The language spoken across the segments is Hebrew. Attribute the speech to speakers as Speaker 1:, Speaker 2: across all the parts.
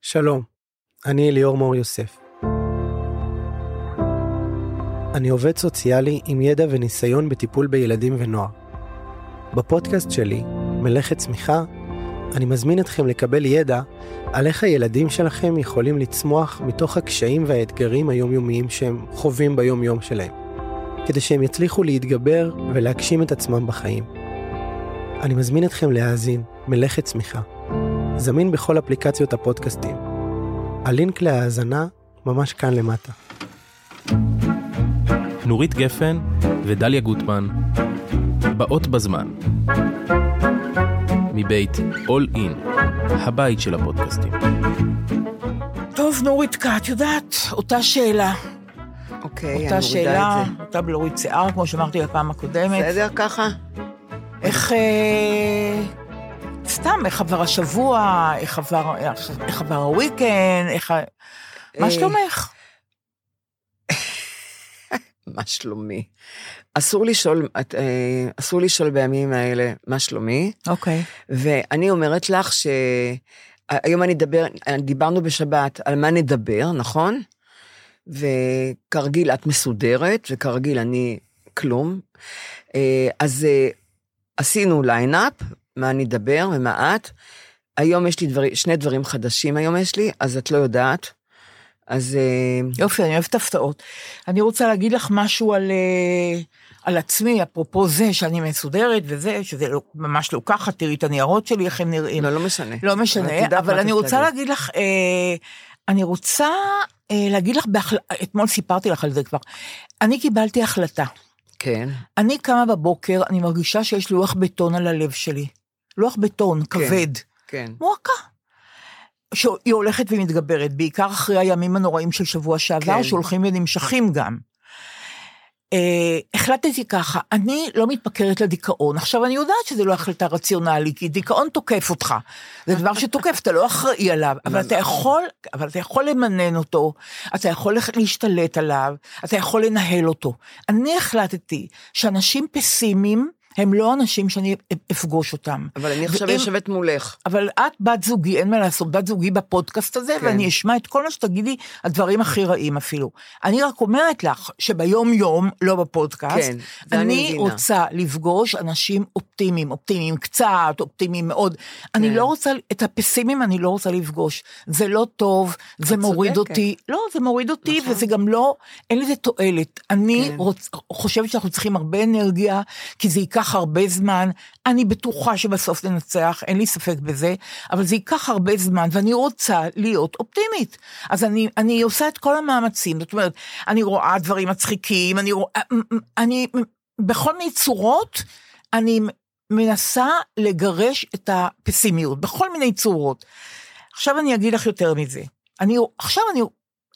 Speaker 1: שלום, אני ליאור מור יוסף. אני עובד סוציאלי עם ידע וניסיון בטיפול בילדים ונוער. בפודקאסט שלי, מלאכת צמיחה, אני מזמין אתכם לקבל ידע על איך הילדים שלכם יכולים לצמוח מתוך הקשיים והאתגרים היומיומיים שהם חווים ביום-יום שלהם, כדי שהם יצליחו להתגבר ולהגשים את עצמם בחיים. אני מזמין אתכם להאזין מלאכת צמיחה. זמין בכל אפליקציות הפודקאסטים. הלינק להאזנה ממש כאן למטה.
Speaker 2: נורית גפן ודליה גוטמן, באות בזמן, מבית All In, הבית של הפודקאסטים.
Speaker 3: טוב, נוריתקה, את יודעת, אותה שאלה.
Speaker 4: אוקיי, אני
Speaker 3: אותה שאלה,
Speaker 4: מורידה את
Speaker 3: אותה בלורית שיער, כמו שאמרתי בפעם הקודמת.
Speaker 4: זה. בסדר ככה?
Speaker 3: איך... אה, סתם, איך עבר השבוע, איך עבר, איך, איך עבר הוויקנד, איך... ה- מה
Speaker 4: אה,
Speaker 3: שלומך?
Speaker 4: מה שלומי? אסור לשאול, את, אה, אסור לשאול בימים האלה מה שלומי,
Speaker 3: אוקיי.
Speaker 4: ואני אומרת לך ש... היום אני אדבר, דיברנו בשבת על מה נדבר, נכון? וכרגיל את מסודרת, וכרגיל אני כלום. אה, אז אה, עשינו ליינאפ, מה נדבר ומה את. היום יש לי דבר, שני דברים חדשים היום יש לי, אז את לא יודעת. אז אה,
Speaker 3: יופי, אני אוהבת הפתעות. אני רוצה להגיד לך משהו על, אה, על עצמי, אפרופו זה שאני מסודרת וזה, שזה לא, ממש לא ככה, תראי את הניירות שלי, איך הם נראים.
Speaker 4: לא, לא משנה.
Speaker 3: לא
Speaker 4: אבל את
Speaker 3: משנה,
Speaker 4: יודעת
Speaker 3: אבל
Speaker 4: מה
Speaker 3: אני
Speaker 4: את
Speaker 3: רוצה
Speaker 4: תגיד.
Speaker 3: להגיד לך, אה, אני רוצה אה, להגיד לך, בהחל... אתמול סיפרתי לך על זה כבר, אני קיבלתי החלטה.
Speaker 4: כן,
Speaker 3: אני קמה בבוקר, אני מרגישה שיש לוח בטון על הלב שלי. לוח בטון כבד,
Speaker 4: כן.
Speaker 3: מועקה. שהיא הולכת ומתגברת, בעיקר אחרי הימים הנוראים של שבוע שעבר,
Speaker 4: כן.
Speaker 3: שהולכים ונמשכים גם. אה, החלטתי ככה, אני לא מתפקרת לדיכאון. עכשיו, אני יודעת שזו לא החלטה רציונלית, כי דיכאון תוקף אותך. זה דבר שתוקף, אתה לא אחראי עליו, אבל אתה יכול, אבל אתה יכול למנן אותו, אתה יכול לח- להשתלט עליו, אתה יכול לנהל אותו. אני החלטתי שאנשים פסימיים הם לא אנשים שאני אפגוש אותם.
Speaker 4: אבל אני עכשיו
Speaker 3: ואם-
Speaker 4: יושבת מולך.
Speaker 3: אבל את בת זוגי, אין מה לעשות, בת זוגי בפודקאסט הזה,
Speaker 4: כן.
Speaker 3: כן. ואני אשמע את כל מה שתגידי, הדברים הכי רעים אפילו. אני רק אומרת לך שביום-יום, לא בפודקאסט,
Speaker 4: כן, זה אני
Speaker 3: אני
Speaker 4: מבינה.
Speaker 3: רוצה לפגוש אנשים אופטימיים, אופטימיים קצת, אופטימיים מאוד. כן. אני לא רוצה, את הפסימיים אני לא רוצה לפגוש. זה לא טוב, זה
Speaker 4: את
Speaker 3: מוריד
Speaker 4: צודקת.
Speaker 3: אותי. לא, זה מוריד אותי,
Speaker 4: נכון.
Speaker 3: וזה גם לא, אין לזה תועלת. אני
Speaker 4: כן.
Speaker 3: כן. רוצ, חושבת שאנחנו צריכים הרבה אנרגיה, כי זה ייקח הרבה זמן. אני בטוחה שבסוף ננצח, אין לי ספק בזה, אבל זה ייקח הרבה זמן, ואני רוצה להיות אופטימית. אז אני, אני עושה את כל המאמצים, זאת אומרת, אני רואה דברים מצחיקים, אני רואה, אני, בכל מיני צורות, אני מנסה לגרש את הפסימיות, בכל מיני צורות. עכשיו אני אגיד לך יותר מזה. אני, עכשיו אני,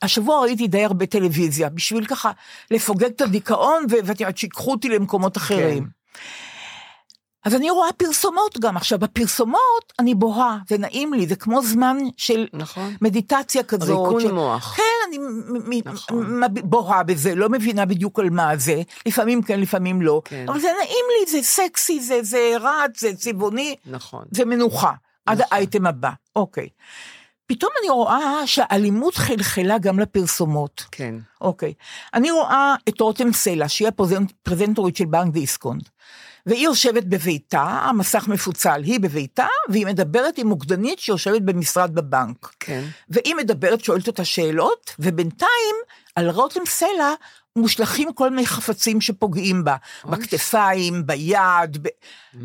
Speaker 3: השבוע ראיתי די הרבה טלוויזיה, בשביל ככה לפוגג את הדיכאון, ו- ואת יודעת, שיקחו אותי למקומות אחרים.
Speaker 4: כן.
Speaker 3: אז אני רואה פרסומות גם. עכשיו, בפרסומות אני בוהה, זה נעים לי, זה כמו זמן של
Speaker 4: נכון.
Speaker 3: מדיטציה כזאת.
Speaker 4: ריקון
Speaker 3: של-
Speaker 4: מוח.
Speaker 3: כן, אני מ- מ-
Speaker 4: נכון.
Speaker 3: מ- בוהה בזה, לא מבינה בדיוק על מה זה, לפעמים כן, לפעמים לא,
Speaker 4: כן.
Speaker 3: אבל זה נעים לי, זה סקסי, זה, זה רץ, זה צבעוני,
Speaker 4: נכון.
Speaker 3: זה מנוחה, עד
Speaker 4: נכון.
Speaker 3: האייטם הבא, אוקיי. פתאום אני רואה שהאלימות חלחלה גם לפרסומות,
Speaker 4: כן.
Speaker 3: אוקיי. אני רואה את רותם סלע, שהיא הפרזנטורית של בנק דיסקונט, והיא יושבת בביתה, המסך מפוצל, היא בביתה, והיא מדברת עם מוקדנית שיושבת במשרד בבנק.
Speaker 4: כן.
Speaker 3: והיא מדברת, שואלת אותה שאלות, ובינתיים על רותם סלע מושלכים כל מיני חפצים שפוגעים בה,
Speaker 4: אוי.
Speaker 3: בכתפיים, ביד, ב...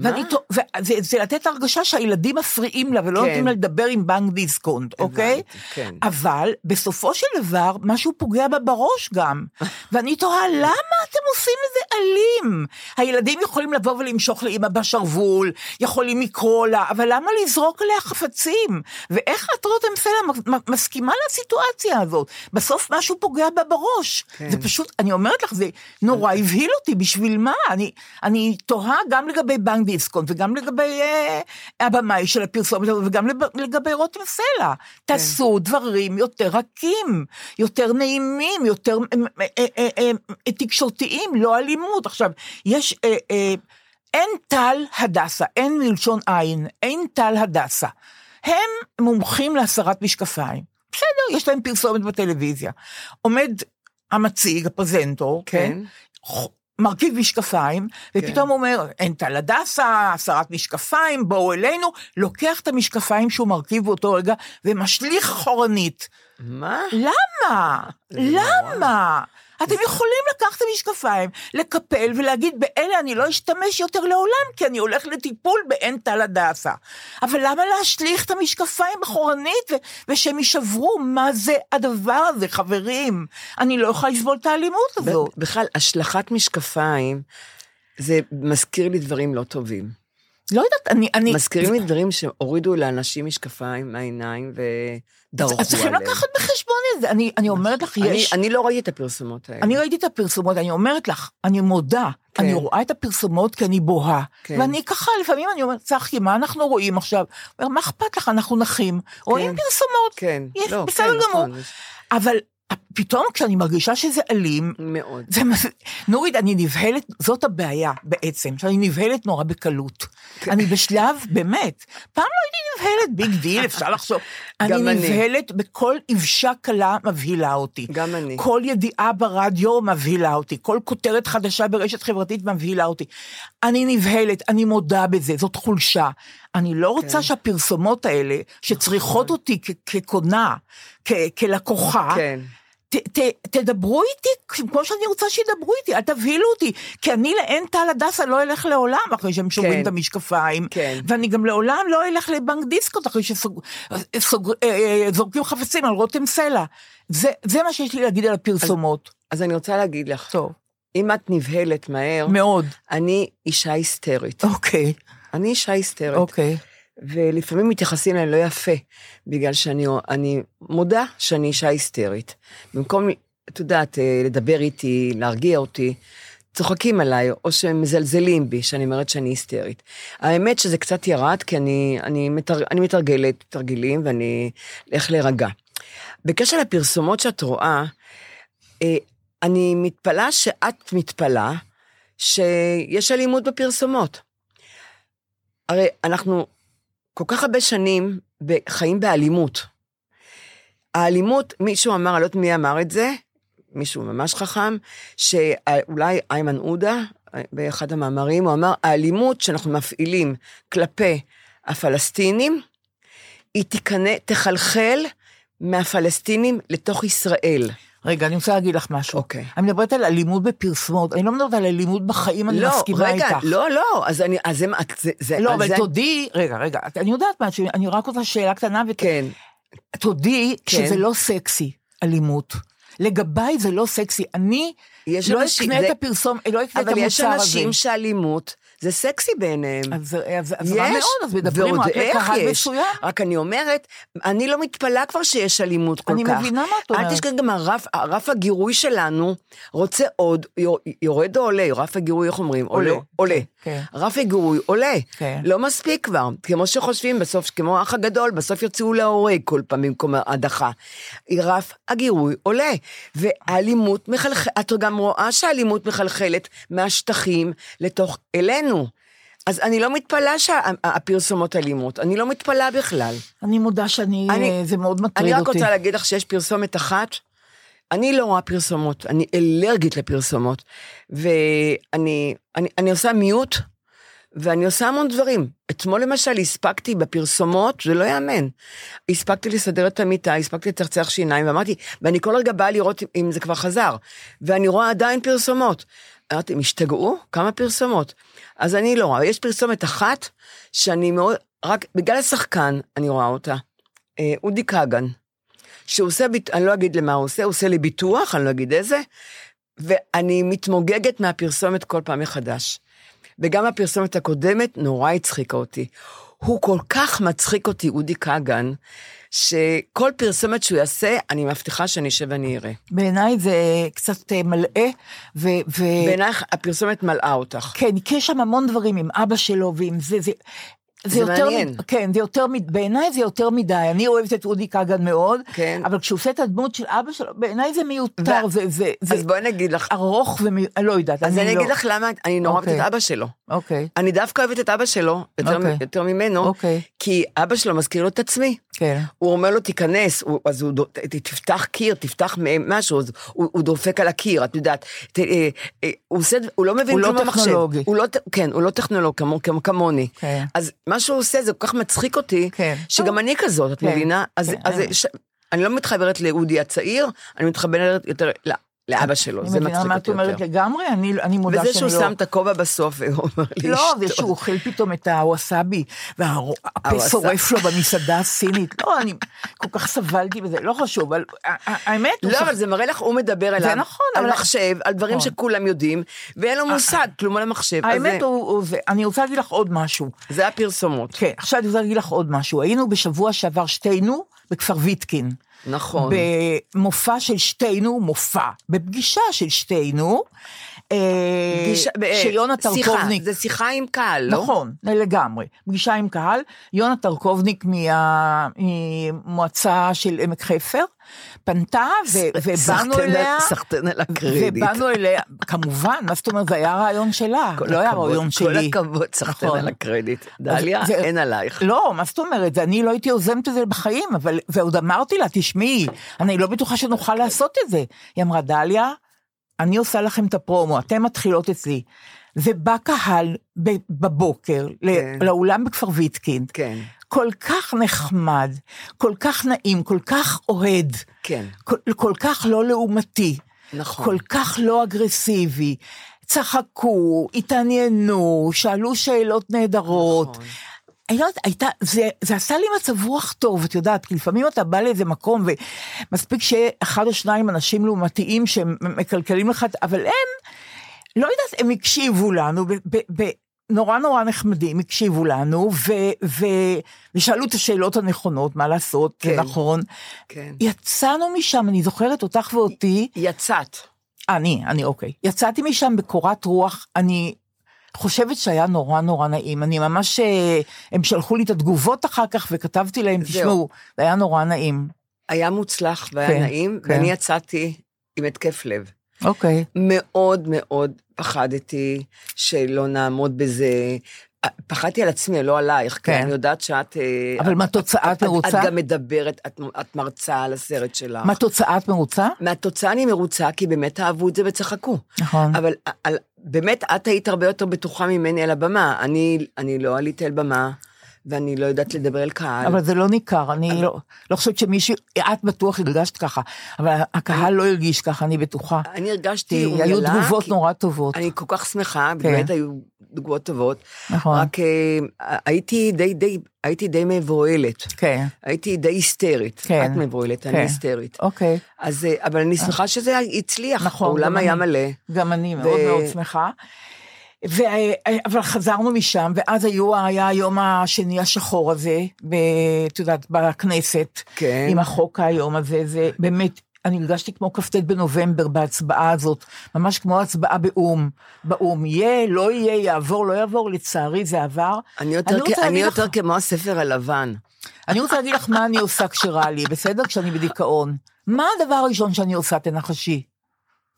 Speaker 3: ואני, טוע- וזה, זה לתת הרגשה שהילדים מפריעים לה ולא
Speaker 4: כן.
Speaker 3: נותנים לה לדבר עם בנק דיסקונט, אוקיי?
Speaker 4: הבנתי, כן.
Speaker 3: אבל בסופו של דבר, משהו פוגע בה בראש גם. ואני תוהה, למה אתם עושים את זה אלים? הילדים יכולים לבוא ולמשוך לאימא בשרוול, יכולים לקרוא לה, אבל למה לזרוק עליה חפצים? ואיך את, רותם סלע, מ- מ- מסכימה לסיטואציה הזאת? בסוף משהו פוגע בה בראש.
Speaker 4: כן.
Speaker 3: זה פשוט, אני אומרת לך, זה נורא הבהיל אותי, בשביל מה? אני, אני תוהה גם לגבי בנק דיסקונט, וגם לגבי אה, הבמאי של הפרסומת, הזאת, וגם לב- לגבי רותם סלע. תעשו דברים יותר רכים, יותר נעימים, יותר אה, אה, אה, אה, אה, תקשורתיים, לא אלימות. עכשיו, יש... אה, אה, אין טל הדסה, אין מלשון עין, אין טל הדסה. הם מומחים להסרת משקפיים. בסדר, יש להם פרסומת בטלוויזיה. עומד המציג, הפרזנטור, כן?
Speaker 4: כן.
Speaker 3: ח- מרכיב משקפיים, ופתאום הוא אומר, אין טל הדסה, הסרת משקפיים, בואו אלינו, לוקח את המשקפיים שהוא מרכיב באותו רגע, ומשליך אחורנית.
Speaker 4: מה?
Speaker 3: למה?
Speaker 4: זה
Speaker 3: למה? אתם יכולים לקחת את המשקפיים, לקפל ולהגיד, באלה אני לא אשתמש יותר לעולם, כי אני הולך לטיפול בעין טל הדסה. אבל למה להשליך את המשקפיים אחורנית ו- ושהם יישברו? מה זה הדבר הזה, חברים? אני לא יכולה לסבול את האלימות
Speaker 4: ב-
Speaker 3: הזאת.
Speaker 4: בכלל, השלכת משקפיים, זה מזכיר לי דברים לא טובים.
Speaker 3: לא יודעת, אני... אני
Speaker 4: מזכירים לי דברים שהורידו לאנשים משקפיים מהעיניים ודרכו עליהם.
Speaker 3: אז צריכים לקחת בחשבון את זה. אני, אני אומרת לך,
Speaker 4: אני-
Speaker 3: יש...
Speaker 4: אני לא ראיתי את הפרסומות האלה.
Speaker 3: אני ראיתי את הפרסומות, אני אומרת לך, אני מודה,
Speaker 4: כן.
Speaker 3: אני רואה את הפרסומות כי אני בוהה.
Speaker 4: כן.
Speaker 3: ואני ככה, לפעמים אני אומרת, צחי, מה אנחנו רואים עכשיו? הוא אומר, מה אכפת לך, אנחנו נחים. רואים פרסומות,
Speaker 4: כן,
Speaker 3: יש-
Speaker 4: לא,
Speaker 3: בסדר
Speaker 4: כן,
Speaker 3: גמור.
Speaker 4: נכון, יש-
Speaker 3: אבל פתאום כשאני מרגישה שזה אלים,
Speaker 4: מאוד.
Speaker 3: זה מה זה- נורית, אני נבהלת, זאת הבעיה בעצם, שאני נבהלת נורא בקלות.
Speaker 4: כן.
Speaker 3: אני בשלב, באמת, פעם לא הייתי נבהלת, ביג דיל, אפשר לחשוב. אני
Speaker 4: גם אני.
Speaker 3: נבהלת בכל איבשה קלה מבהילה אותי.
Speaker 4: גם אני.
Speaker 3: כל ידיעה ברדיו מבהילה אותי, כל כותרת חדשה ברשת חברתית מבהילה אותי. אני נבהלת, אני מודה בזה, זאת חולשה. אני לא
Speaker 4: כן.
Speaker 3: רוצה שהפרסומות האלה, שצריכות אותי כ- כקונה, כ- כלקוחה,
Speaker 4: נכון. כן.
Speaker 3: ת, ת, תדברו איתי כמו שאני רוצה שידברו איתי, אל תבהילו אותי, כי אני לעין טל הדסה לא אלך לעולם אחרי שהם שוברים
Speaker 4: כן.
Speaker 3: את המשקפיים,
Speaker 4: כן.
Speaker 3: ואני גם לעולם לא אלך לבנק דיסקוט אחרי שזורקים אה, חפצים על רותם סלע. זה, זה מה שיש לי להגיד על הפרסומות.
Speaker 4: אז אני רוצה להגיד לך,
Speaker 3: טוב,
Speaker 4: אם את נבהלת מהר,
Speaker 3: מאוד.
Speaker 4: אני אישה היסטרית.
Speaker 3: אוקיי,
Speaker 4: אני אישה היסטרית,
Speaker 3: אוקיי.
Speaker 4: ולפעמים מתייחסים אליי לא יפה, בגלל שאני אני מודה שאני אישה היסטרית. במקום, את יודעת, אה, לדבר איתי, להרגיע אותי, צוחקים עליי, או שמזלזלים בי, שאני אומרת שאני היסטרית. האמת שזה קצת ירד, כי אני, אני, מתר, אני מתרגלת תרגילים ואני איך להירגע. בקשר לפרסומות שאת רואה, אה, אני מתפלאה שאת מתפלאה שיש אלימות בפרסומות. הרי אנחנו כל כך הרבה שנים ב- חיים באלימות. האלימות, מישהו אמר, אני לא יודעת מי אמר את זה, מישהו ממש חכם, שאולי איימן עודה, אה, באחד המאמרים, הוא אמר, האלימות שאנחנו מפעילים כלפי הפלסטינים, היא תיכנס, תחלחל מהפלסטינים לתוך ישראל.
Speaker 3: רגע, אני רוצה להגיד לך משהו.
Speaker 4: אוקיי.
Speaker 3: אני מדברת על אלימות בפרסומות, אני לא מדברת על אלימות בחיים, אני מסכימה
Speaker 4: לא, רגע,
Speaker 3: איתך.
Speaker 4: לא, לא, אז אני, אז הם, את- זה, זה,
Speaker 3: לא,
Speaker 4: אז
Speaker 3: אבל
Speaker 4: זה,
Speaker 3: תודי, רגע, רגע, אני יודעת משהו, אני רק רוצה שאלה קטנה ות-
Speaker 4: כן,
Speaker 3: תודי
Speaker 4: כן.
Speaker 3: שזה לא סקסי, אלימות. לגביי זה לא סקסי. אני
Speaker 4: יש
Speaker 3: לא
Speaker 4: אנשים,
Speaker 3: אקנה
Speaker 4: זה-
Speaker 3: את הפרסום, לא אקנה את
Speaker 4: אבל יש
Speaker 3: המוצר הזה.
Speaker 4: אנשים שאלימות, זה סקסי בעיניהם.
Speaker 3: אז אז- אז רע
Speaker 4: יש,
Speaker 3: מאוד, אז מדברים
Speaker 4: ועוד
Speaker 3: רק
Speaker 4: איך
Speaker 3: לקהל
Speaker 4: יש.
Speaker 3: מסוים.
Speaker 4: רק אני אומרת, אני לא מתפלאה כבר שיש אלימות כל
Speaker 3: אני
Speaker 4: כך.
Speaker 3: מבינה מה את אומרת.
Speaker 4: אל תשכח גם הרף, הרף הגירוי שלנו רוצה עוד, יור- יורד או עולה, רף הגירוי, איך אומרים?
Speaker 3: עולה.
Speaker 4: עולה.
Speaker 3: כן.
Speaker 4: רף הגירוי עולה.
Speaker 3: כן.
Speaker 4: לא מספיק כבר, כמו שחושבים בסוף, כמו האח הגדול, בסוף יוצאו להורג כל פעם במקום ההדחה. רף הגירוי עולה, והאלימות מחלחלת, את גם רואה שהאלימות מחלחלת מהשטחים לתוך אלינו. אז אני לא מתפלאה שהפרסומות אלימות, אני לא מתפלאה בכלל.
Speaker 3: אני מודה שאני,
Speaker 4: אני-
Speaker 3: אה, זה מאוד
Speaker 4: אני
Speaker 3: מטריד
Speaker 4: רק
Speaker 3: אותי.
Speaker 4: רוצה להגיד לך שיש פרסומת אחת. אני לא רואה פרסומות, אני אלרגית לפרסומות. ואני אני, אני עושה מיוט, ואני עושה המון דברים. אתמול למשל הספקתי בפרסומות, זה לא ייאמן. הספקתי לסדר את המיטה, הספקתי לצחצח שיניים, ואמרתי, ואני כל רגע באה לראות אם זה כבר חזר. ואני רואה עדיין פרסומות. אמרתי, הם השתגעו? כמה פרסומות? אז אני לא רואה. יש פרסומת אחת שאני מאוד, רק בגלל השחקן אני רואה אותה. אה, אודי כגן, שהוא עושה, ביט... אני לא אגיד למה הוא עושה, הוא עושה לי ביטוח, אני לא אגיד איזה, ואני מתמוגגת מהפרסומת כל פעם מחדש. וגם הפרסומת הקודמת נורא הצחיקה אותי. הוא כל כך מצחיק אותי, אודי כגן, שכל פרסומת שהוא יעשה, אני מבטיחה שאני אשב ואני אראה.
Speaker 3: בעיניי זה קצת אה, מלאה, ו... ו-
Speaker 4: בעינייך, הפרסומת מלאה אותך.
Speaker 3: כן, כי יש שם המון דברים עם אבא שלו ועם זה, זה...
Speaker 4: זה
Speaker 3: יותר
Speaker 4: מעניין.
Speaker 3: מד- כן, זה יותר, מד- בעיניי זה יותר מדי. אני אוהבת את אודי כגן מאוד,
Speaker 4: כן.
Speaker 3: אבל כשהוא עושה את הדמות של אבא שלו, בעיניי זה מיותר,
Speaker 4: ו-
Speaker 3: זה, זה, זה
Speaker 4: אז בואי אני אגיד לך,
Speaker 3: ארוך ומי... אני לא יודעת,
Speaker 4: אז אני
Speaker 3: לא.
Speaker 4: אגיד לך למה אני נורא אוהבת
Speaker 3: אוקיי.
Speaker 4: את אבא שלו.
Speaker 3: אוקיי,
Speaker 4: אני דווקא אוהבת את אבא שלו, יותר,
Speaker 3: אוקיי.
Speaker 4: מ- יותר ממנו,
Speaker 3: אוקיי,
Speaker 4: כי אבא שלו מזכיר לו את עצמי.
Speaker 3: כן.
Speaker 4: הוא אומר לו, תיכנס, הוא, אז הוא, דו- ת- ת- תפתח קיר, תפתח מ- משהו, אז הוא, הוא דופק על הקיר, את יודעת. ת, אה, אה, הוא, עושה, ד- הוא לא מבין
Speaker 3: הוא לא
Speaker 4: כלום במחשב.
Speaker 3: טכנולוגי.
Speaker 4: הוא לא, ט- כן, הוא לא טכנולוג כמו, כמו, כמוני.
Speaker 3: כן.
Speaker 4: אז מה שהוא עושה זה כל כך מצחיק אותי,
Speaker 3: כן.
Speaker 4: שגם אני כזאת, את
Speaker 3: כן,
Speaker 4: מבינה? אז,
Speaker 3: כן,
Speaker 4: אז
Speaker 3: אני-
Speaker 4: ש, אני לא מתחברת לאודי הצעיר, אני מתחברת יותר ל- לאבא שלו,
Speaker 3: אני
Speaker 4: זה
Speaker 3: מבינה
Speaker 4: מצחיק
Speaker 3: מה את
Speaker 4: אותי
Speaker 3: אומרת
Speaker 4: יותר.
Speaker 3: לגמרי, אני, אני מודה שאני
Speaker 4: וזה
Speaker 3: לא...
Speaker 4: שהוא שם את הכובע בסוף, הוא אומר לי,
Speaker 3: לא,
Speaker 4: "שטות".
Speaker 3: זה שהוא אוכל פתאום את הווסאבי, והפה
Speaker 4: הווסאבי.
Speaker 3: שורף לו במסעדה הסינית. לא, אני כל כך סבלתי בזה, לא חשוב, אבל ה- ה- האמת, הוא
Speaker 4: לא,
Speaker 3: שח-
Speaker 4: אבל זה מראה לך, הוא מדבר אליו.
Speaker 3: נכון,
Speaker 4: על
Speaker 3: אבל-
Speaker 4: מחשב, על דברים
Speaker 3: נכון. אה,
Speaker 4: שכולם יודעים, ואין לו מושג, כלום על המחשב. אז
Speaker 3: האמת
Speaker 4: זה-
Speaker 3: הוא, הוא זה. אני רוצה להגיד לך עוד משהו.
Speaker 4: זה הפרסומות.
Speaker 3: כן, עכשיו אני רוצה להגיד לך עוד משהו. היינו בשבוע שעבר שתינו בכפר ויטקין.
Speaker 4: נכון.
Speaker 3: במופע של שתינו, מופע, בפגישה של שתינו, אה,
Speaker 4: פגישה- אה,
Speaker 3: שיונה טרקובניק
Speaker 4: שיחה, זה שיחה עם קהל, לא?
Speaker 3: נכון, לגמרי. פגישה עם קהל, יונה טרקובניק מה- מהמועצה של עמק חפר, פנתה ו- ובאנו
Speaker 4: סחטן על-
Speaker 3: אליה,
Speaker 4: סחטן על הקרדיט.
Speaker 3: ובאנו אליה, כמובן, מה זאת אומרת, זה היה רעיון שלה,
Speaker 4: כל
Speaker 3: לא היה
Speaker 4: הכבוד,
Speaker 3: רעיון שלי.
Speaker 4: כל הכבוד, סחטן
Speaker 3: נכון.
Speaker 4: על הקרדיט. דליה,
Speaker 3: זה-
Speaker 4: אין עלייך.
Speaker 3: לא, מה זאת אומרת, זה- אני לא הייתי יוזמת את זה בחיים, אבל, ועוד אמרתי לה, תשמעי, אני לא בטוחה שנוכל לעשות את זה. היא אמרה, דליה, אני עושה לכם את הפרומו, אתן מתחילות אצלי. ובא קהל ב- בבוקר ל-
Speaker 4: כן.
Speaker 3: לאולם בכפר ויטקין,
Speaker 4: כן,
Speaker 3: כל כך נחמד, כל כך נעים, כל כך אוהד,
Speaker 4: כן,
Speaker 3: כל, כל כך לא לעומתי,
Speaker 4: נכון.
Speaker 3: כל כך לא אגרסיבי. צחקו, התעניינו, שאלו שאלות נהדרות.
Speaker 4: נכון.
Speaker 3: אני לא יודעת, הייתה, זה, זה עשה לי מצב רוח טוב, את יודעת, כי לפעמים אתה בא לאיזה מקום ומספיק שאחד או שניים אנשים לעומתיים שהם מקלקלים לך, את- אבל הם, לא יודעת, הם הקשיבו לנו, ב, ב, ב, נורא נורא נחמדים, הקשיבו לנו, ו, ו, ושאלו את השאלות הנכונות, מה לעשות,
Speaker 4: כן.
Speaker 3: כן. נכון.
Speaker 4: כן.
Speaker 3: יצאנו משם, אני זוכרת אותך ואותי,
Speaker 4: יצאת.
Speaker 3: אני, אני אוקיי. יצאתי משם בקורת רוח, אני חושבת שהיה נורא נורא נעים. אני ממש, אה, הם שלחו לי את התגובות אחר כך וכתבתי להם,
Speaker 4: זהו.
Speaker 3: תשמעו, זה היה נורא נעים.
Speaker 4: היה מוצלח והיה
Speaker 3: כן,
Speaker 4: נעים,
Speaker 3: כן.
Speaker 4: ואני יצאתי עם התקף לב.
Speaker 3: אוקיי.
Speaker 4: מאוד מאוד פחדתי שלא נעמוד בזה. פחדתי על עצמי, לא עלייך, כן.
Speaker 3: כן.
Speaker 4: אני יודעת שאת... אה,
Speaker 3: אבל
Speaker 4: את-
Speaker 3: מה תוצאה את מרוצה?
Speaker 4: את גם מדברת, את, את מרצה על הסרט שלך.
Speaker 3: מה תוצאה את מרוצה?
Speaker 4: מהתוצאה אני מרוצה, כי באמת אהבו את זה וצחקו.
Speaker 3: נכון.
Speaker 4: אבל על, באמת, את היית הרבה יותר בטוחה ממני על הבמה. אני, אני לא עליתי על במה, ואני לא יודעת לדבר אל קהל.
Speaker 3: אבל זה לא ניכר, אני לא, לא חושבת שמישהו, את בטוח הרגשת ככה, אבל הקהל לא הרגיש ככה, אני בטוחה.
Speaker 4: אני הרגשתי
Speaker 3: כי היו
Speaker 4: אומללה,
Speaker 3: תגובות
Speaker 4: אה, כי-
Speaker 3: נורא טובות,
Speaker 4: אני כל כך שמחה,
Speaker 3: כן.
Speaker 4: באמת היו תגובות טובות.
Speaker 3: נכון.
Speaker 4: רק אה, הייתי די, די, הייתי די מבוהלת.
Speaker 3: כן,
Speaker 4: הייתי די היסטרית.
Speaker 3: כן.
Speaker 4: את מבוהלת, אני
Speaker 3: כן.
Speaker 4: היסטרית.
Speaker 3: אוקיי.
Speaker 4: אז, אה, אבל אני שמחה שזה הצליח.
Speaker 3: נכון,
Speaker 4: האולם
Speaker 3: גם
Speaker 4: היה
Speaker 3: אני.
Speaker 4: מלא.
Speaker 3: גם אני מאוד
Speaker 4: ו-
Speaker 3: מאוד שמחה. ו... אבל חזרנו משם, ואז היו, היה היום השני השחור הזה, ב- את יודעת, בכנסת,
Speaker 4: כן.
Speaker 3: עם החוק היום הזה, זה באמת, אני הרגשתי כמו כ"ט בנובמבר בהצבעה הזאת, ממש כמו הצבעה באו"ם, באו"ם, יהיה, לא יהיה, יעבור, לא יעבור, לצערי זה עבר.
Speaker 4: אני יותר,
Speaker 3: רוצה
Speaker 4: כ- אני
Speaker 3: להגיד לך-
Speaker 4: יותר כמו הספר הלבן.
Speaker 3: אני רוצה להגיד לך מה אני עושה כשרע לי, בסדר? כשאני בדיכאון. מה הדבר הראשון שאני עושה, תנחשי?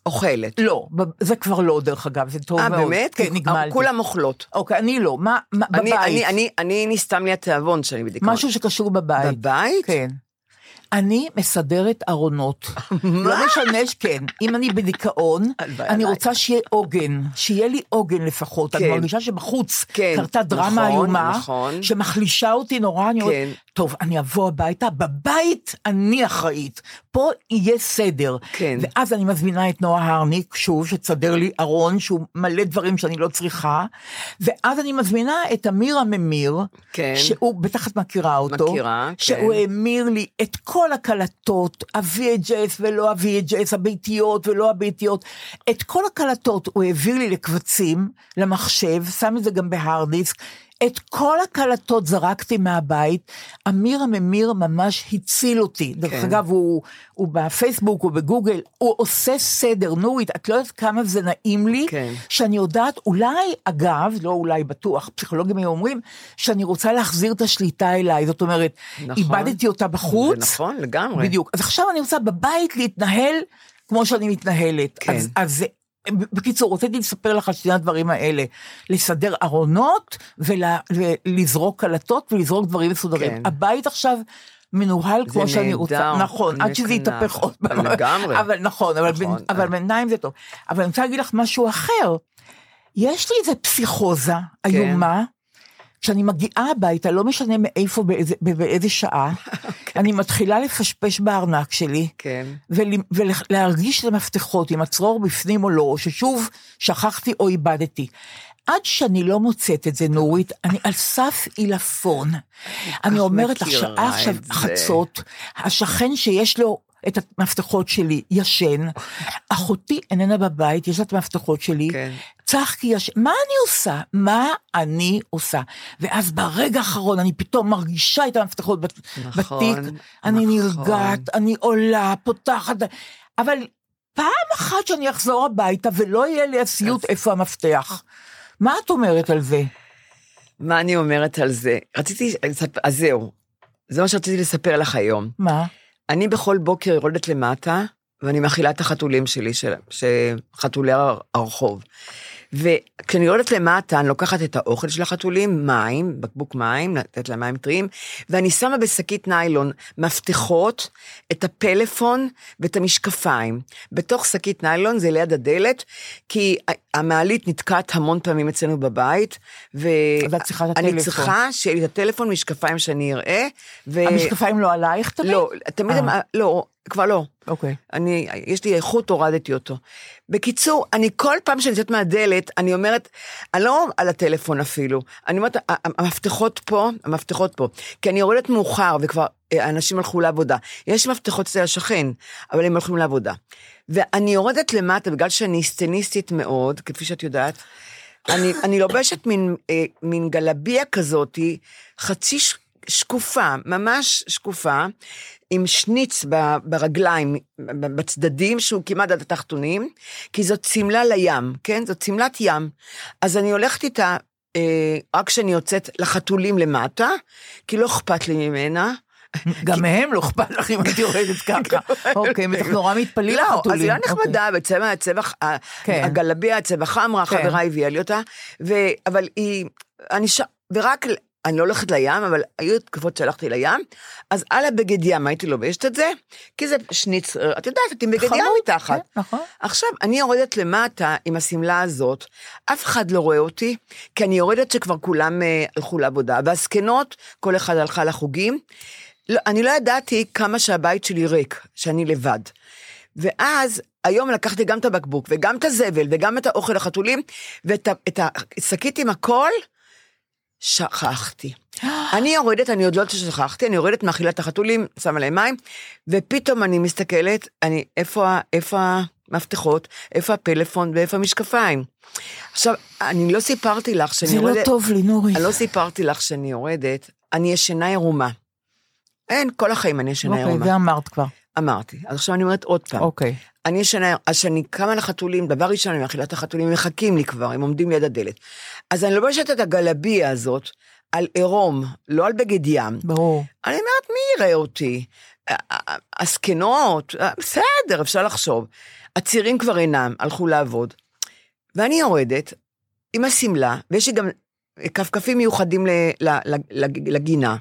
Speaker 4: אוכלת.
Speaker 3: לא, ב- זה כבר לא, דרך אגב, זה טוב
Speaker 4: אה,
Speaker 3: מאוד.
Speaker 4: באמת?
Speaker 3: כן,
Speaker 4: כי
Speaker 3: נגמלתי.
Speaker 4: כולם אוכלות.
Speaker 3: אוקיי, אני לא, מה, מה
Speaker 4: אני,
Speaker 3: בבית,
Speaker 4: אני, אני, אני נסתם לי התיאבון שאני בדיכאון.
Speaker 3: משהו שקשור בבית.
Speaker 4: בבית?
Speaker 3: כן. אני מסדרת ארונות. לא משנה, ש- כן, אם אני בדיכאון,
Speaker 4: הלוואי
Speaker 3: אני
Speaker 4: עליי.
Speaker 3: רוצה שיהיה עוגן, שיהיה לי עוגן לפחות. אני
Speaker 4: כן.
Speaker 3: מרגישה שבחוץ
Speaker 4: כן,
Speaker 3: קרתה
Speaker 4: נכון,
Speaker 3: דרמה איומה,
Speaker 4: נכון.
Speaker 3: שמחלישה אותי נורא, אני אומרת,
Speaker 4: כן.
Speaker 3: טוב, אני אבוא הביתה, בבית אני אחראית, פה יהיה סדר.
Speaker 4: כן.
Speaker 3: ואז אני מזמינה את נועה הרניק, שוב, שתסדר לי ארון שהוא מלא דברים שאני לא צריכה, ואז אני מזמינה את אמיר הממיר,
Speaker 4: כן.
Speaker 3: שהוא, בטח את מכירה אותו,
Speaker 4: מכירה,
Speaker 3: שהוא אה,
Speaker 4: כן.
Speaker 3: המיר לי את כל הקלטות, ה-VHS ולא ה-VHS, הביתיות ולא הביתיות, את כל הקלטות הוא העביר לי לקבצים, למחשב, שם את זה גם בהארד דיסק. את כל הקלטות זרקתי מהבית, אמיר הממיר ממש הציל אותי. דרך
Speaker 4: כן.
Speaker 3: אגב, הוא, הוא בפייסבוק, הוא בגוגל, הוא עושה סדר, נורית, את לא יודעת כמה זה נעים לי,
Speaker 4: כן.
Speaker 3: שאני יודעת, אולי, אגב, לא אולי בטוח, פסיכולוגים היו אומרים, שאני רוצה להחזיר את השליטה אליי, זאת אומרת,
Speaker 4: נכון.
Speaker 3: איבדתי אותה בחוץ,
Speaker 4: זה נכון, לגמרי.
Speaker 3: בדיוק. אז עכשיו אני רוצה בבית להתנהל כמו שאני מתנהלת.
Speaker 4: כן.
Speaker 3: אז, אז בקיצור, רציתי לספר לך על שני הדברים האלה. לסדר ארונות ולה- ולזרוק קלטות ולזרוק דברים מסודרים.
Speaker 4: כן.
Speaker 3: הבית עכשיו... מנוהל
Speaker 4: זה
Speaker 3: כמו שאני
Speaker 4: נהדר,
Speaker 3: רוצה, נכון, עד שזה
Speaker 4: נקנס.
Speaker 3: יתהפך עוד פעם.
Speaker 4: לגמרי.
Speaker 3: אבל נכון, אבל,
Speaker 4: נכון.
Speaker 3: בין, אבל בינתיים זה טוב. אבל אני רוצה להגיד לך משהו אחר. יש לי איזה פסיכוזה
Speaker 4: כן.
Speaker 3: איומה, כשאני מגיעה הביתה, לא משנה מאיפה, באיזה, באיזה שעה, אני מתחילה לפשפש בארנק שלי,
Speaker 4: כן.
Speaker 3: ול- ולהרגיש את המפתחות, אם הצרור בפנים או לא, או ששוב שכחתי או איבדתי. עד שאני לא מוצאת את זה, נורית, אני על סף עילפון. אני אומרת לך,
Speaker 4: מכירה
Speaker 3: שעה עכשיו
Speaker 4: את זה.
Speaker 3: חצות, השכן שיש לו את המפתחות שלי ישן, אחותי איננה בבית, יש לה את המפתחות שלי,
Speaker 4: כן.
Speaker 3: צחקי ישן, מה אני עושה? מה אני עושה? ואז ברגע האחרון אני פתאום מרגישה את המפתחות בת-
Speaker 4: נכון,
Speaker 3: בתיק, אני
Speaker 4: נכון.
Speaker 3: נרגעת, אני עולה, פותחת, אבל פעם אחת שאני אחזור הביתה ולא יהיה לי הסיוט איפה המפתח. מה את אומרת על זה?
Speaker 4: מה אני אומרת על זה? רציתי, לספ- אז זהו. זה מה שרציתי לספר לך היום.
Speaker 3: מה?
Speaker 4: אני בכל בוקר יורדת למטה, ואני מאכילה את החתולים שלי, של, חתולי הרחוב. וכשאני יורדת למטה, אני לוקחת את האוכל של החתולים, מים, בקבוק מים, לתת להם מים טריים, ואני שמה בשקית ניילון מפתחות, את הפלאפון ואת המשקפיים. בתוך שקית ניילון, זה ליד הדלת, כי המעלית נתקעת המון פעמים אצלנו בבית,
Speaker 3: אז את צריכה את
Speaker 4: ואני
Speaker 3: הטלפון.
Speaker 4: צריכה שיהיה לי את הטלפון, משקפיים שאני אראה. ו-
Speaker 3: המשקפיים לא עלייך תמיד?
Speaker 4: אה, לא, תמיד,
Speaker 3: אה.
Speaker 4: הם, לא, כבר לא.
Speaker 3: אוקיי.
Speaker 4: אני, יש לי איכות, הורדתי אותו. בקיצור, אני כל פעם שאני יוצאת מהדלת, אני אומרת, אני לא על הטלפון אפילו, אני אומרת, "ה- המפתחות פה, המפתחות פה. כי אני יורדת מאוחר, וכבר אה, אנשים הלכו לעבודה. יש מפתחות אצל השכן, אבל הם הולכים לעבודה. ואני יורדת למטה, בגלל שאני סצניסטית מאוד, כפי שאת יודעת, אני, אני לובשת מין, אה, מין גלביה כזאתי, חצי ש, שקופה, ממש שקופה, עם שניץ ב, ברגליים, ב- בצדדים, שהוא כמעט עד התחתונים, כי זאת שמלה לים, כן? זאת שמלת ים. אז אני הולכת איתה אה, רק כשאני יוצאת לחתולים למטה, כי לא אכפת לי ממנה.
Speaker 3: גם מהם לא אכפת לך אם את יורדת ככה. אוקיי, הם בטח נורא מתפלאים
Speaker 4: לא, אז היא
Speaker 3: החתולים.
Speaker 4: לא
Speaker 3: אוקיי.
Speaker 4: נחמדה, בצבע, הצבע,
Speaker 3: כן.
Speaker 4: הגלביה, הצבע חמרה,
Speaker 3: כן.
Speaker 4: חברה הביאה לי אותה, ו, אבל היא, אני ש... ורק, אני לא הולכת לים, אבל היו תקופות שהלכתי לים, אז על הבגד ים הייתי לובשת את זה, כי זה שניץ, את יודעת, את עם בגד ים
Speaker 3: חמוד,
Speaker 4: מתחת.
Speaker 3: כן, נכון.
Speaker 4: עכשיו, אני יורדת למטה עם השמלה הזאת, אף אחד לא רואה אותי, כי אני יורדת שכבר כולם אה, הלכו לעבודה, והזקנות, כל אחד הלכה לחוגים. לא, אני לא ידעתי כמה שהבית שלי ריק, שאני לבד. ואז, היום לקחתי גם את הבקבוק, וגם את הזבל, וגם את האוכל לחתולים, ואת ה- את השקית עם הכל, שכחתי. אני יורדת, אני עוד לא שכחתי, אני יורדת מאכילה את החתולים, שמה להם מים, ופתאום אני מסתכלת, אני, איפה, ה- איפה המפתחות, איפה הפלאפון ואיפה המשקפיים. עכשיו, אני לא סיפרתי לך שאני
Speaker 3: זה
Speaker 4: יורדת...
Speaker 3: לא טוב לי, נורית.
Speaker 4: אני לא סיפרתי לך שאני יורדת, אני ישנה עירומה. אין, כל החיים אני ישנה
Speaker 3: אוקיי,
Speaker 4: עירומה.
Speaker 3: זה אמרת כבר.
Speaker 4: אמרתי. אז עכשיו אני אומרת עוד פעם.
Speaker 3: אוקיי.
Speaker 4: אני ישנה, אז כשאני קמה לחתולים, דבר ראשון, אני מאכילה את החתולים, הם מחכים לי כבר, הם עומדים ליד הדלת. אז אני לובשת את הגלביה הזאת על עירום, לא על בגד ים.
Speaker 3: ברור.
Speaker 4: אני אומרת, מי יראה אותי? ה- ה- ה- הזקנות, אה, בסדר, אפשר לחשוב. הצעירים כבר אינם, הלכו לעבוד. ואני יורדת עם השמלה, ויש לי גם כפכפים מיוחדים ל- ל- ל- לג- לגינה.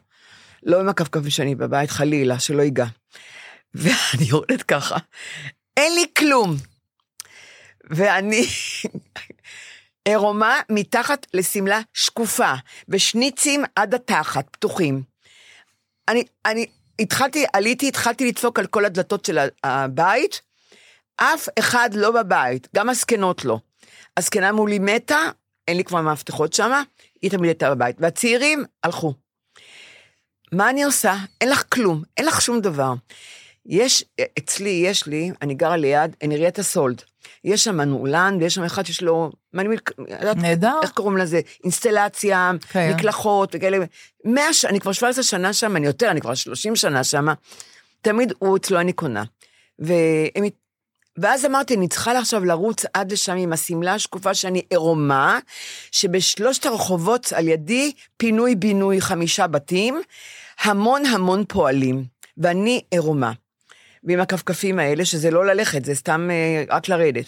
Speaker 4: לא עם הכפכפים שאני בבית, חלילה, שלא ייגע. ואני יורדת ככה, אין לי כלום. ואני עירומה מתחת לשמלה שקופה, ושניצים עד התחת, פתוחים. אני, אני התחלתי, עליתי, התחלתי לדפוק על כל הדלתות של ה- הבית, אף אחד לא בבית, גם הזקנות לא. הזקנה מולי מתה, אין לי כבר מפתחות שמה, היא תמיד הייתה בבית. והצעירים הלכו. מה אני עושה? אין לך כלום, אין לך שום דבר. יש, אצלי, יש לי, אני גרה ליד, אין עיריית הסולד. יש שם מנעולן, ויש שם אחד שיש לו, מה אני יודעת,
Speaker 3: נהדר.
Speaker 4: איך קוראים לזה? אינסטלציה,
Speaker 3: כן.
Speaker 4: מקלחות וכאלה. מאה ש... אני כבר 17 שנה שם, אני יותר, אני כבר 30 שנה שם. תמיד הוא אצלו, אני קונה. והם... הת- ואז אמרתי, אני צריכה עכשיו לרוץ עד לשם עם השמלה השקופה שאני עירומה, שבשלושת הרחובות על ידי פינוי-בינוי חמישה בתים, המון המון פועלים, ואני עירומה. ועם הכפכפים האלה, שזה לא ללכת, זה סתם אה, רק לרדת.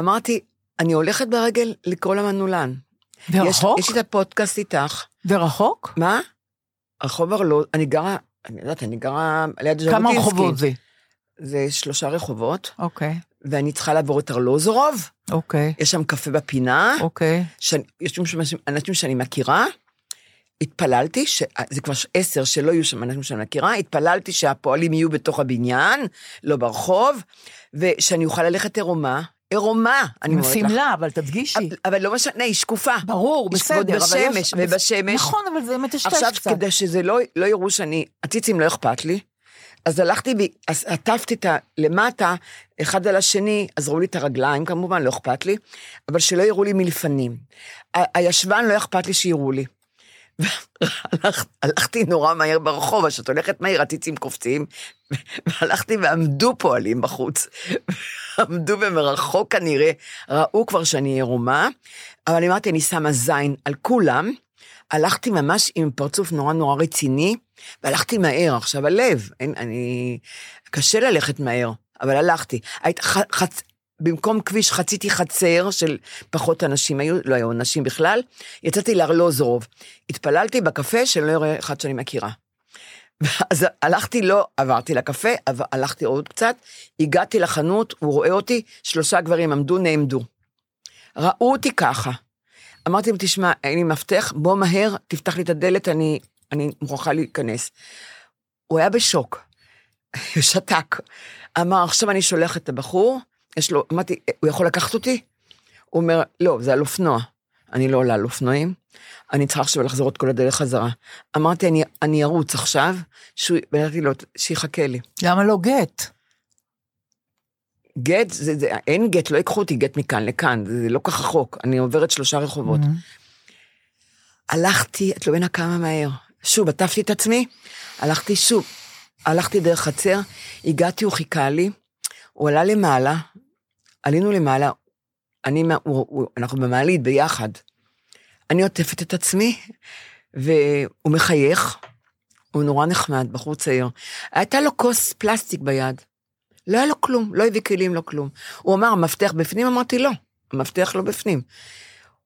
Speaker 4: אמרתי, אני הולכת ברגל לקרוא למנעולן.
Speaker 3: ורחוק?
Speaker 4: יש, יש לי את הפודקאסט איתך.
Speaker 3: ורחוק?
Speaker 4: מה? רחוב ארלוז, אני גרה, אני יודעת, אני גרה ליד ז'בוטינסקי.
Speaker 3: כמה רחובות זה?
Speaker 4: זה שלושה רחובות,
Speaker 3: אוקיי,
Speaker 4: ואני צריכה לעבור את ארלוזורוב,
Speaker 3: אוקיי,
Speaker 4: יש שם קפה בפינה,
Speaker 3: אוקיי.
Speaker 4: שאני- יש שם אנשים- אנשים שאני מכירה. התפללתי, ש... אה, זה כבר ש- עשר שלא יהיו שם אנשים שאני מכירה, התפללתי שהפועלים יהיו בתוך הבניין, לא ברחוב, ושאני אוכל ללכת עירומה, עירומה, אני אומרת לך.
Speaker 3: שמלה, אבל תדגישי.
Speaker 4: אבל לא משנה, היא שקופה.
Speaker 3: ברור,
Speaker 4: לשקוט
Speaker 3: בסדר. אבל
Speaker 4: בשמש,
Speaker 3: אבל-
Speaker 4: לא ובשמש.
Speaker 3: נכון, אבל זה מטשטש קצת.
Speaker 4: עכשיו, כדי שזה לא, לא יראו שאני, הציצים לא אכפת לי, אז הלכתי ועטפתי את ה... למטה, אחד על השני, אז ראו לי את הרגליים, כמובן, לא אכפת לי, אבל שלא יראו לי מלפנים. ה- הישבן לא אכפת לי שיראו לי. והלכ- הלכתי נורא מהר ברחוב, אז כשאת הולכת מהר, הציצים קופצים, והלכתי ועמדו פועלים בחוץ. עמדו ומרחוק כנראה, ראו כבר שאני עירומה, אבל אני אמרתי, אני שמה זין על כולם. הלכתי ממש עם פרצוף נורא נורא רציני, והלכתי מהר. עכשיו, הלב, אין, אני... קשה ללכת מהר, אבל הלכתי. היית, ח, חצ... במקום כביש חציתי חצר של פחות אנשים היו, לא היו נשים בכלל, יצאתי לארלוזורוב. התפללתי בקפה שלא יראה אחד שאני מכירה. ואז הלכתי, לא עברתי לקפה, אבל הלכתי עוד קצת, הגעתי לחנות, הוא רואה אותי, שלושה גברים עמדו, נעמדו. ראו אותי ככה. אמרתי להם, תשמע, אין לי מפתח, בוא מהר, תפתח לי את הדלת, אני, אני מוכרחה להיכנס. הוא היה בשוק, שתק. אמר, עכשיו אני שולח את הבחור, יש לו, אמרתי, הוא יכול לקחת אותי? הוא אומר, לא, זה על אופנוע. אני לא עולה על אופנועים, אני צריכה עכשיו לחזור את כל הדרך חזרה. אמרתי, אני, אני ארוץ עכשיו, שהוא, ואמרתי לו, שיחכה לי.
Speaker 3: למה לא גט?
Speaker 4: גט, זה, זה, אין גט, לא ייקחו אותי גט מכאן לכאן, זה, זה לא כך רחוק, אני עוברת שלושה רחובות.
Speaker 3: Mhm.
Speaker 4: הלכתי, את לא מבינה כמה מהר. שוב, עטפתי את עצמי, הלכתי שוב, הלכתי דרך חצר, הגעתי, הוא חיכה לי, הוא עלה למעלה, עלינו למעלה, אני, מה- הוא, הוא, אנחנו במעלית ביחד. אני עוטפת את עצמי, והוא מחייך, הוא נורא נחמד, בחור צעיר. הייתה לו כוס פלסטיק ביד, לא היה לו כלום, לא הביא כלים, לא כלום. הוא אמר, המפתח בפנים? אמרתי, לא, המפתח לא בפנים.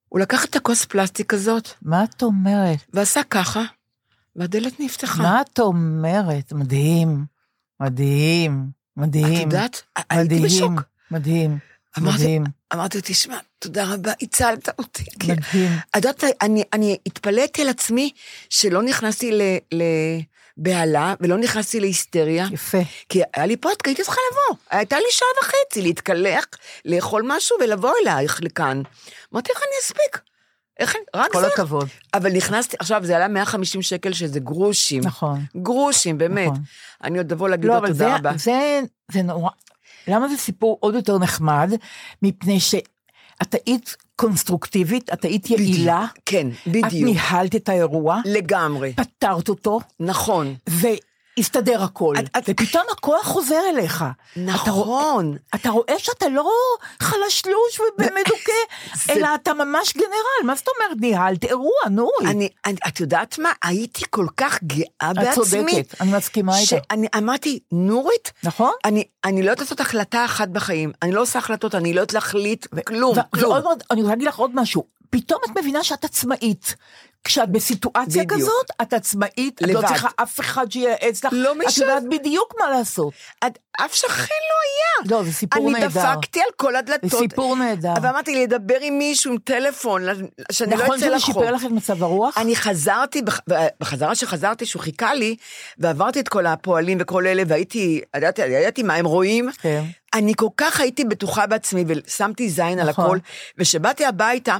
Speaker 4: הוא לקח את הכוס פלסטיק הזאת,
Speaker 3: מה את אומרת?
Speaker 4: ועשה ככה, והדלת נפתחה.
Speaker 3: מה את אומרת? מדהים. מדהים. מדהים.
Speaker 4: את יודעת? הייתי
Speaker 3: מדהים.
Speaker 4: בשוק.
Speaker 3: מדהים.
Speaker 4: אמרתי, "אוקיי."
Speaker 3: מדהים.
Speaker 4: אמרתי, תשמע, תודה רבה, הצלת אותי. כי-
Speaker 3: מדהים.
Speaker 4: את יודעת, אני, אני התפלאתי על עצמי שלא נכנסתי ל- לבהלה ולא נכנסתי להיסטריה,
Speaker 3: יפה.
Speaker 4: כי היה לי פודקאסט, הייתי צריכה לבוא. הייתה לי שעה וחצי להתקלח, לאכול משהו ולבוא אלייך לכאן. אמרתי, איך אני אספיק? איך אני, רק
Speaker 3: כל
Speaker 4: זה.
Speaker 3: הכבוד.
Speaker 4: אבל נכנסתי, עכשיו, זה עלה 150 שקל, שזה גרושים.
Speaker 3: נכון.
Speaker 4: גרושים, באמת.
Speaker 3: נכון.
Speaker 4: אני עוד אבוא להגיד
Speaker 3: לא,
Speaker 4: לו
Speaker 3: אבל זה,
Speaker 4: תודה רבה.
Speaker 3: זה, זה נורא... למה זה סיפור עוד יותר נחמד? מפני שאת היית קונסטרוקטיבית, את היית יעילה,
Speaker 4: כן,
Speaker 3: את
Speaker 4: בדיוק.
Speaker 3: ניהלת את האירוע,
Speaker 4: לגמרי.
Speaker 3: פתרת אותו,
Speaker 4: נכון.
Speaker 3: והסתדר הכל.
Speaker 4: את- את-
Speaker 3: ופתאום הכוח חוזר אליך. אתה רואה-
Speaker 4: נכון.
Speaker 3: אתה רואה שאתה לא חלשלוש ומדוכא,
Speaker 4: זה-
Speaker 3: אלא אתה ממש גנרל. מה זאת אומרת ניהלת אירוע, נו.
Speaker 4: אני, אני, את יודעת מה? הייתי כל כך גאה
Speaker 3: את
Speaker 4: בעצמי.
Speaker 3: צודקת, אני מסכימה איתך.
Speaker 4: שאני אמרתי, נורית,
Speaker 3: נכון?
Speaker 4: אני, אני לא יודעת לעשות החלטה אחת בחיים. אני לא עושה החלטות, אני לא יודעת להחליט כלום,
Speaker 3: ו-
Speaker 4: כלום.
Speaker 3: ועוד מאוד, אני רוצה להגיד לך עוד משהו. פתאום את מבינה שאת עצמאית. כשאת בסיטואציה
Speaker 4: בדיוק.
Speaker 3: כזאת, את עצמאית, את לא
Speaker 4: לבד.
Speaker 3: צריכה אף אחד שייעץ לך,
Speaker 4: לא
Speaker 3: את
Speaker 4: משנה.
Speaker 3: יודעת בדיוק מה לעשות.
Speaker 4: את, אף שכן לא היה.
Speaker 3: לא, זה סיפור
Speaker 4: אני
Speaker 3: נהדר.
Speaker 4: דפקתי על כל הדלתות.
Speaker 3: זה סיפור נהדר.
Speaker 4: אבל אמרתי, לדבר עם מישהו, עם טלפון, שאני לא אצא לחור.
Speaker 3: נכון שזה שיפר לך את מצב הרוח?
Speaker 4: אני חזרתי, בח- בחזרה שחזרתי, שהוא חיכה לי, ועברתי את כל הפועלים וכל אלה, והייתי, ידעתי, ידעתי מה הם רואים.
Speaker 3: כן.
Speaker 4: אני כל כך הייתי בטוחה בעצמי, ושמתי זין על
Speaker 3: נכון.
Speaker 4: הכל, וכשבאתי הביתה,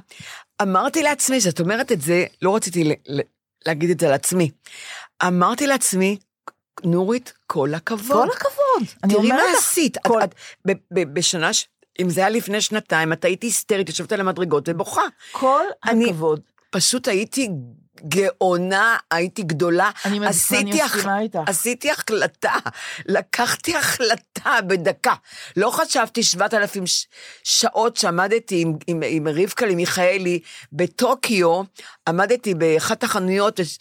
Speaker 4: אמרתי לעצמי, זאת אומרת את זה, לא רציתי ל- ל- להגיד את זה על עצמי. אמרתי לעצמי, נורית, כל הכבוד.
Speaker 3: כל הכבוד. אני
Speaker 4: תראי
Speaker 3: אומרת
Speaker 4: מה
Speaker 3: לך,
Speaker 4: עשית. את-
Speaker 3: כל-
Speaker 4: את- ב- ב- בשנה, ש- אם זה היה לפני שנתיים, את היית היסטרית, יושבת על המדרגות ובוכה.
Speaker 3: כל
Speaker 4: אני-
Speaker 3: הכבוד.
Speaker 4: פשוט הייתי גאונה, הייתי גדולה.
Speaker 3: אני מד-
Speaker 4: עשיתי
Speaker 3: אני
Speaker 4: הח-
Speaker 3: מסכימה איתך.
Speaker 4: עשיתי החלטה, לקחתי החלטה בדקה. לא חשבתי 7,000 ש- שעות שעמדתי עם, עם, עם רבקה למיכאלי בטוקיו, עמדתי באחת החנויות, וש-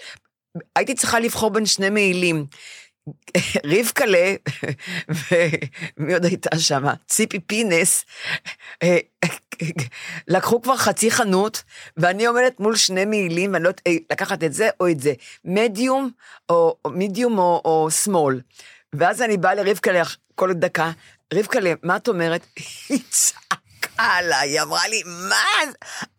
Speaker 4: הייתי צריכה לבחור בין שני מעילים. רבקלה, ומי עוד הייתה שם? ציפי פינס, אה, לקחו כבר חצי חנות, ואני עומדת מול שני מעילים, ואני לא יודעת אה, לקחת את זה או את זה, מדיום או או מידיום או, או שמאל. ואז אני באה לרבקלה אח- כל דקה, רבקלה, מה את אומרת? היא צעקה עליי, היא אמרה לי, מה?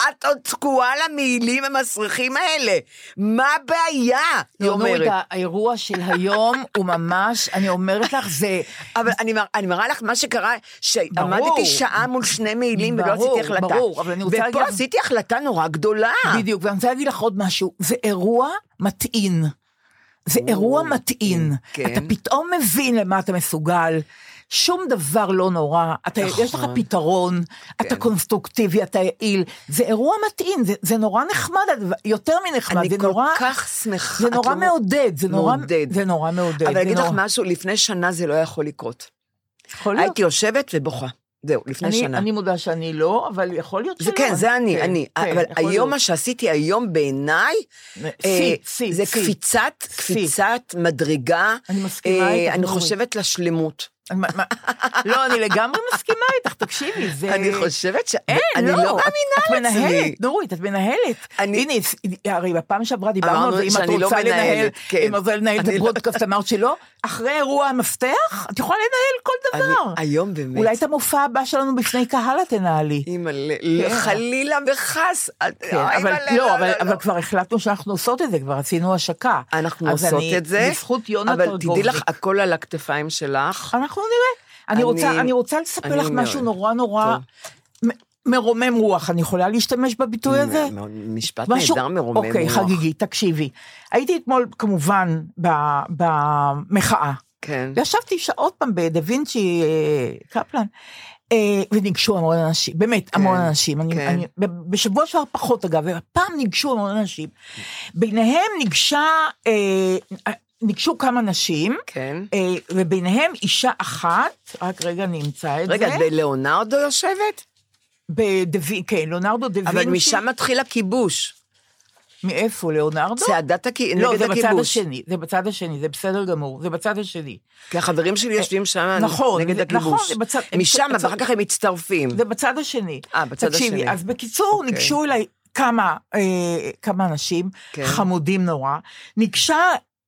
Speaker 4: את עוד תקועה למעילים המסריחים האלה, מה הבעיה? היא
Speaker 3: לא, נו,
Speaker 4: אומרת.
Speaker 3: נורית, האירוע של היום הוא ממש, אני אומרת לך, זה...
Speaker 4: אבל אני, מרא- אני מראה לך מה שקרה, שעמדתי שעה מול שני מעילים ולא
Speaker 3: ברור,
Speaker 4: עשיתי החלטה.
Speaker 3: ברור, אבל אני רוצה להגיד
Speaker 4: ופה
Speaker 3: לך-
Speaker 4: עשיתי החלטה נורא גדולה.
Speaker 3: בדיוק, ואני רוצה להגיד לך עוד משהו, זה אירוע מטעין. זה אירוע מטעין.
Speaker 4: כן.
Speaker 3: אתה פתאום מבין למה אתה מסוגל. שום דבר לא נורא, אתה,
Speaker 4: נכון. כן.
Speaker 3: יש לך פתרון, אתה קונסטרוקטיבי, אתה יעיל, זה אירוע מטעין, זה, זה נורא נחמד, הדבר- יותר מנחמד,
Speaker 4: אני
Speaker 3: זה
Speaker 4: כל
Speaker 3: נורא,
Speaker 4: כך שמחה.
Speaker 3: זה
Speaker 4: את
Speaker 3: נורא
Speaker 4: לא-
Speaker 3: מעודד, זה נורא
Speaker 4: מעודד.
Speaker 3: זה נורא מעודד.
Speaker 4: אבל
Speaker 3: זה
Speaker 4: אני אגיד לך
Speaker 3: נורא-
Speaker 4: משהו, לפני שנה זה לא יכול לקרות.
Speaker 3: יכול להיות.
Speaker 4: הייתי יושבת ובוכה. זהו, לפני
Speaker 3: אני,
Speaker 4: שנה.
Speaker 3: אני מודה שאני לא, אבל יכול להיות
Speaker 4: זה
Speaker 3: שלא.
Speaker 4: כן, זה אני, אני. אבל
Speaker 3: יכול
Speaker 4: היום, מה
Speaker 3: להיות.
Speaker 4: שעשיתי היום בעיניי,
Speaker 3: שיא,
Speaker 4: אה,
Speaker 3: שיא,
Speaker 4: זה
Speaker 3: שיא.
Speaker 4: קפיצת, קפיצת מדרגה.
Speaker 3: אני מסכימה
Speaker 4: אה,
Speaker 3: איתך,
Speaker 4: אני
Speaker 3: נורית.
Speaker 4: חושבת לשלמות.
Speaker 3: מה- מה- לא, אני לגמרי מסכימה איתך, תקשיבי, זה...
Speaker 4: אני חושבת ש...
Speaker 3: אין,
Speaker 4: אני
Speaker 3: לא,
Speaker 4: לא
Speaker 3: את-
Speaker 4: מאמינה
Speaker 3: את
Speaker 4: לעצמי.
Speaker 3: מנהלת, נורית, את מנהלת.
Speaker 4: אני-
Speaker 3: הנה, הס- הרי בפעם שעברה דיברנו על
Speaker 4: אמרנו
Speaker 3: זה, אם את
Speaker 4: שאני לא
Speaker 3: רוצה לנהל,
Speaker 4: מנהלת, כן.
Speaker 3: אם את רוצה לנהל את
Speaker 4: אני לא-
Speaker 3: הפרודקאסט, אמרת שלא, אחרי אירוע המפתח, את יכולה לנהל כל דבר.
Speaker 4: אני- היום באמת.
Speaker 3: לא. אולי את המופע הבא שלנו בפני קהל את תנהלי.
Speaker 4: אימא'לה,
Speaker 3: כן.
Speaker 4: חלילה וחס.
Speaker 3: כן, אבל לא, אבל- אבל כבר החלטנו שאנחנו עושות את זה, כבר עשינו השקה.
Speaker 4: אנחנו
Speaker 3: אז
Speaker 4: עושות
Speaker 3: אני-
Speaker 4: את זה,
Speaker 3: בזכות אה, יונה
Speaker 4: אבל תדעי
Speaker 3: טרגובסקי.
Speaker 4: לך, הכל על הכתפיים שלך.
Speaker 3: אנחנו נראה. אני
Speaker 4: אני-
Speaker 3: רוצה, אני רוצה לספר
Speaker 4: אני
Speaker 3: לך משהו
Speaker 4: מאוד-
Speaker 3: נורא נורא מ- מרומם רוח, אני יכולה להשתמש בביטוי הזה?
Speaker 4: משפט נהדר מרומם רוח.
Speaker 3: אוקיי, חגיגי, תקשיבי. הייתי אתמול כמובן ב- במחאה.
Speaker 4: כן.
Speaker 3: ישבתי שעות פעם בדה וינצ'י אה, קפלן, אה, וניגשו המון אנשים, באמת המון אנשים, אני,
Speaker 4: כן.
Speaker 3: אני, ב- בשבוע שעבר פחות אגב, והפעם ניגשו המון אנשים, ביניהם ניגשה, אה, ניגשו כמה נשים,
Speaker 4: כן.
Speaker 3: אה, וביניהם אישה אחת, רק רגע אני אמצא את
Speaker 4: רגע,
Speaker 3: אה, זה,
Speaker 4: את בלאונרדו לא יושבת?
Speaker 3: בדה וינ- כן, ליאונרדו דה וינצ'י,
Speaker 4: אבל משם מתחיל הכיבוש.
Speaker 3: מאיפה ליאונרדו?
Speaker 4: צעדת הכיבוש,
Speaker 3: לא, זה
Speaker 4: נגד
Speaker 3: בצד
Speaker 4: הכיבוש.
Speaker 3: השני, זה בצד השני, זה בסדר גמור, זה בצד השני.
Speaker 4: כי החברים שלי יושבים שם
Speaker 3: אה, נכון,
Speaker 4: נגד
Speaker 3: זה- נכון,
Speaker 4: הכיבוש.
Speaker 3: זה בצד-
Speaker 4: משם,
Speaker 3: בצד-
Speaker 4: ואחר כך הם מצטרפים.
Speaker 3: זה בצד השני.
Speaker 4: אה, בצד
Speaker 3: תקשיבי,
Speaker 4: השני.
Speaker 3: אז בקיצור,
Speaker 4: אוקיי.
Speaker 3: ניגשו אליי כמה, אה, כמה אנשים,
Speaker 4: כן.
Speaker 3: חמודים נורא. ניגשה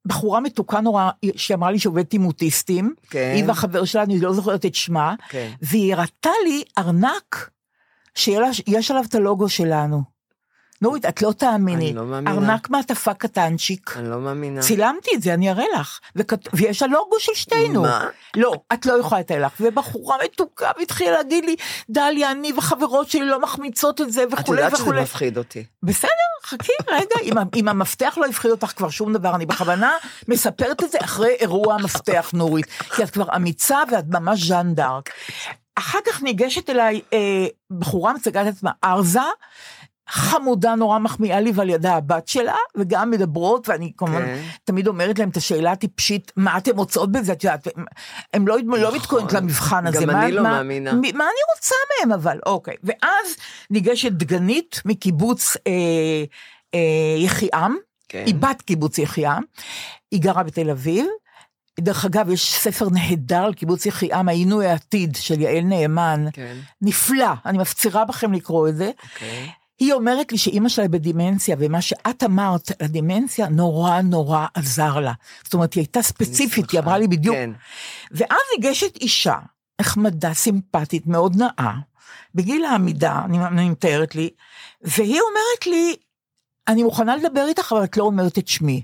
Speaker 3: בחורה מתוקה נורא, שאמרה לי שעובדת עם אוטיסטים,
Speaker 4: כן.
Speaker 3: היא והחבר שלה, אני לא זוכרת את שמה,
Speaker 4: כן.
Speaker 3: והיא הראתה לי ארנק שיש עליו את הלוגו שלנו. נורית, את לא תאמיני.
Speaker 4: אני לא מאמינה.
Speaker 3: ארנק מעטפה קטנצ'יק.
Speaker 4: אני לא מאמינה.
Speaker 3: צילמתי את זה, אני אראה לך. וכת... ויש הלוגו של שתינו.
Speaker 4: מה?
Speaker 3: לא, את לא יכולה לתאר לך. ובחורה מתוקה והתחילה להגיד לי, דליה, אני והחברות שלי לא מחמיצות את זה
Speaker 4: את
Speaker 3: וכולי
Speaker 4: יודעת שזה
Speaker 3: וכולי.
Speaker 4: מפחיד אותי.
Speaker 3: בסדר, חכי רגע, אם, ה- אם המפתח לא הפחיד אותך כבר שום דבר, אני בכוונה מספרת את זה אחרי אירוע המפתח, נורית, כי את כבר אמיצה ואת ממש ז'אן דארק. אחר כך ניגשת אליי אה, בחורה מצגת את עצמה, ארזה, חמודה נורא מחמיאה לי ועל ידה הבת שלה, וגם מדברות, ואני כמובן
Speaker 4: כן.
Speaker 3: תמיד אומרת להם את השאלה הטיפשית, מה אתם מוצאות בזה, את יודעת, הם לא, לא מתכוננות למבחן הזה.
Speaker 4: נכון. גם
Speaker 3: מה-
Speaker 4: אני לא
Speaker 3: מה-
Speaker 4: מאמינה.
Speaker 3: מ- מה אני רוצה מהם אבל? אוקיי. ואז ניגשת דגנית מקיבוץ אה, אה, יחיעם,
Speaker 4: כן.
Speaker 3: היא בת קיבוץ יחיעם, היא גרה בתל אביב. דרך אגב, יש ספר נהדר על קיבוץ יחיעם, העינוי העתיד של יעל נאמן,
Speaker 4: כן.
Speaker 3: נפלא, אני מפצירה בכם לקרוא את זה.
Speaker 4: אוקיי.
Speaker 3: היא אומרת לי שאימא שלה בדמנציה, ומה שאת אמרת על הדמנציה נורא נורא עזר לה. זאת אומרת, היא הייתה ספציפית, היא אמרה לי בדיוק
Speaker 4: כן.
Speaker 3: ואז ניגשת אישה, נחמדה, סימפטית, מאוד נאה, בגיל העמידה, אני, אני מתארת לי, והיא אומרת לי, אני מוכנה לדבר איתך, אבל את לא אומרת את שמי.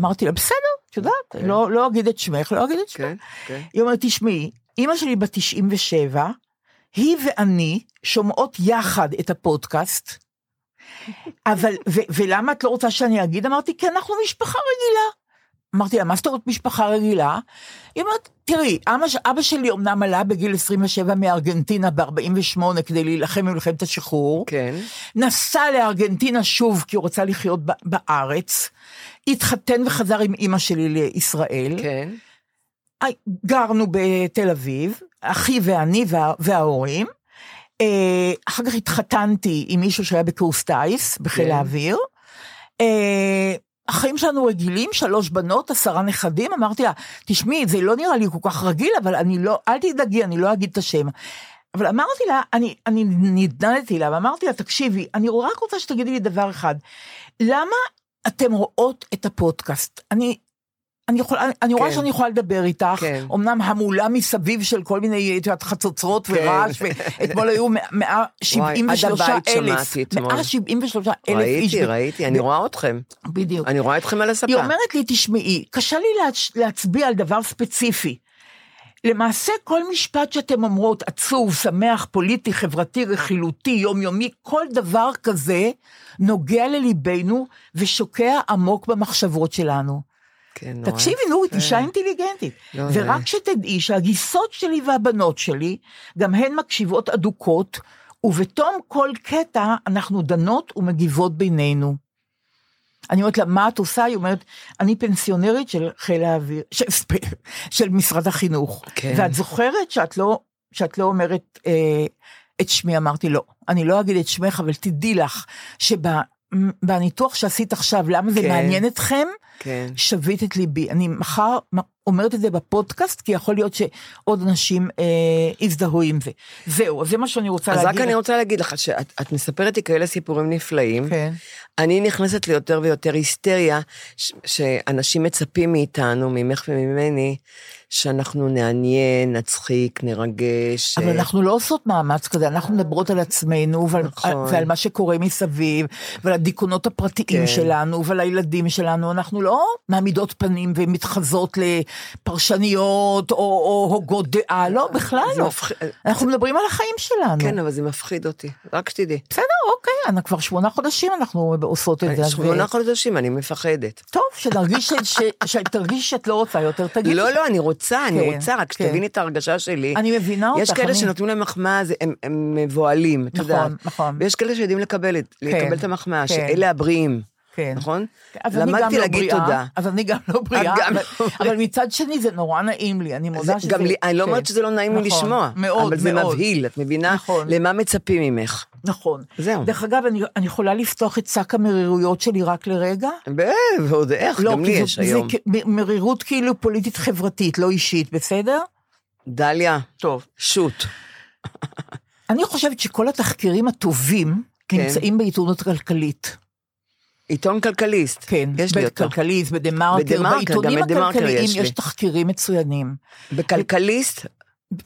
Speaker 3: אמרתי לה, בסדר, את יודעת,
Speaker 4: כן.
Speaker 3: לא, לא אגיד את שמך, לא אגיד את שמך.
Speaker 4: כן, כן.
Speaker 3: היא אומרת, תשמעי, אימא שלי בת 97, היא ואני שומעות יחד את הפודקאסט, אבל, ו, ולמה את לא רוצה שאני אגיד? אמרתי, כי אנחנו משפחה רגילה. אמרתי לה, מה זאת אומרת משפחה רגילה? היא אומרת, תראי, אבא, ש- אבא שלי אמנם עלה בגיל 27 מארגנטינה ב-48 כדי להילחם במלחמת השחרור.
Speaker 4: כן.
Speaker 3: נסע לארגנטינה שוב כי הוא רצה לחיות ב- בארץ. התחתן וחזר עם אימא שלי לישראל.
Speaker 4: כן.
Speaker 3: היי, גרנו בתל אביב, אחי ואני וה, וההורים. אה, אחר כך התחתנתי עם מישהו שהיה בקורס טיס, בחיל
Speaker 4: כן.
Speaker 3: האוויר. אה, החיים שלנו רגילים, שלוש בנות, עשרה נכדים, אמרתי לה, תשמעי, זה לא נראה לי כל כך רגיל, אבל אני לא, אל תדאגי, אני לא אגיד את השם. אבל אמרתי לה, אני, אני נדנדתי לה, ואמרתי לה, תקשיבי, אני רק רוצה שתגידי לי דבר אחד, למה אתם רואות את הפודקאסט? אני, אני, יכולה, אני רואה
Speaker 4: כן.
Speaker 3: שאני יכולה לדבר איתך,
Speaker 4: כן.
Speaker 3: אמנם המולה מסביב של כל מיני את יודעת, חצוצרות ורעש, ואתמול היו מאה-
Speaker 4: כן. וואי,
Speaker 3: 173
Speaker 4: עד הבית
Speaker 3: אלף,
Speaker 4: שמעתי אתמול.
Speaker 3: 173 אלף איש,
Speaker 4: ראיתי, ראיתי, אני רואה אתכם.
Speaker 3: בדיוק.
Speaker 4: אני רואה אתכם על הספה.
Speaker 3: היא אומרת לי, תשמעי, קשה לי להצ- להצביע על דבר ספציפי. למעשה כל משפט שאתם אומרות, עצוב, שמח, פוליטי, חברתי, רכילותי, יומיומי, כל דבר כזה נוגע לליבנו ושוקע עמוק במחשבות שלנו.
Speaker 4: כן, נורא.
Speaker 3: תקשיבי, נו, את
Speaker 4: יפה.
Speaker 3: אישה אינטליגנטית.
Speaker 4: לא,
Speaker 3: ורק
Speaker 4: זה-
Speaker 3: שתדעי שהגיסות שלי והבנות שלי, גם הן מקשיבות אדוקות, ובתום כל קטע אנחנו דנות ומגיבות בינינו. אני אומרת לה, מה את עושה? היא אומרת, אני פנסיונרית של חיל האוויר, של, של משרד החינוך.
Speaker 4: כן.
Speaker 3: ואת זוכרת שאת לא, שאת לא אומרת אה, את שמי? אמרתי, לא. אני לא אגיד את שמך, אבל תדעי לך שבניתוח שעשית עכשיו, למה זה
Speaker 4: כן.
Speaker 3: מעניין אתכם?
Speaker 4: כן.
Speaker 3: שבית את ליבי. אני מחר אומרת את זה בפודקאסט, כי יכול להיות שעוד אנשים אה, יזדהו עם זה. זהו, אז זה מה שאני רוצה
Speaker 4: אז
Speaker 3: להגיד.
Speaker 4: רק אני רוצה להגיד לך שאת את מספרת לי כאלה סיפורים נפלאים.
Speaker 3: כן.
Speaker 4: אני נכנסת ליותר ויותר היסטריה, ש- שאנשים מצפים מאיתנו, ממך וממני, שאנחנו נעניין, נצחיק, נרגש.
Speaker 3: אבל
Speaker 4: אה,
Speaker 3: אנחנו לא עושות מאמץ כזה, אנחנו מדברות על עצמנו ועל,
Speaker 4: נכון.
Speaker 3: ועל מה שקורה מסביב, ועל הדיכאונות הפרטיים
Speaker 4: כן.
Speaker 3: שלנו ועל הילדים שלנו, אנחנו לא מעמידות פנים ומתחזות לפרשניות או, או הוגות דעה, לא, בכלל
Speaker 4: זה
Speaker 3: לא.
Speaker 4: מפחיד-
Speaker 3: אנחנו מדברים על החיים שלנו.
Speaker 4: כן, אבל זה מפחיד אותי, רק שתדעי.
Speaker 3: בסדר, אוקיי, אנחנו כבר שמונה חודשים אנחנו עושות את זה. אז-
Speaker 4: שמונה חודשים, אני מפחדת.
Speaker 3: טוב, שנרגיש ש- ש- שתרגישי שאת לא רוצה יותר, תגידי.
Speaker 4: לא, לא, אני רוצה, אני
Speaker 3: כן,
Speaker 4: רוצה, רק
Speaker 3: כן.
Speaker 4: שתביני את ההרגשה שלי.
Speaker 3: אני מבינה אותך.
Speaker 4: יש כאלה
Speaker 3: אני-
Speaker 4: שנותנים להם מחמאה, זה- הם- הם מבוהלים, את
Speaker 3: נכון,
Speaker 4: יודעת.
Speaker 3: נכון.
Speaker 4: ויש כאלה שיודעים לקבל את- לקבל את המחמאה,
Speaker 3: כן.
Speaker 4: שאלה הבריאים,
Speaker 3: כן.
Speaker 4: נכון?
Speaker 3: אז אני גם
Speaker 4: למדתי
Speaker 3: לא
Speaker 4: להגיד
Speaker 3: בריאה,
Speaker 4: תודה.
Speaker 3: אז אני גם לא בריאה,
Speaker 4: גם
Speaker 3: אבל-
Speaker 4: לא
Speaker 3: אבל מצד שני זה נורא נעים לי, אני
Speaker 4: זה
Speaker 3: מודה שזה...
Speaker 4: גם לי, אני לא
Speaker 3: כן.
Speaker 4: אומרת שזה לא נעים לי
Speaker 3: נכון,
Speaker 4: לשמוע,
Speaker 3: מאוד,
Speaker 4: אבל זה
Speaker 3: מאוד.
Speaker 4: מבהיל, את מבינה?
Speaker 3: נכון.
Speaker 4: למה מצפים ממך?
Speaker 3: נכון.
Speaker 4: זהו.
Speaker 3: דרך אגב, אני אני יכולה לפתוח את שק המרירויות שלי רק לרגע?
Speaker 4: ב- ועוד איך, גם לי
Speaker 3: לא, כי
Speaker 4: יש
Speaker 3: זה- כן-
Speaker 4: היום.
Speaker 3: זה כ- מ- מרירות כאילו פוליטית חברתית, לא אישית, בסדר?
Speaker 4: דליה,
Speaker 3: טוב.
Speaker 4: שוט.
Speaker 3: אני חושבת שכל התחקירים הטובים
Speaker 4: כן.
Speaker 3: נמצאים בעיתונות כלכלית.
Speaker 4: עיתון כלכליסט.
Speaker 3: כן,
Speaker 4: יש לי אותו.
Speaker 3: בכלכליסט, בדה מרקר,
Speaker 4: בדה-מרקר,
Speaker 3: בעיתונים
Speaker 4: גם בדה-מרקר
Speaker 3: הכלכליים
Speaker 4: יש לי.
Speaker 3: יש תחקירים מצוינים.
Speaker 4: בכלכליסט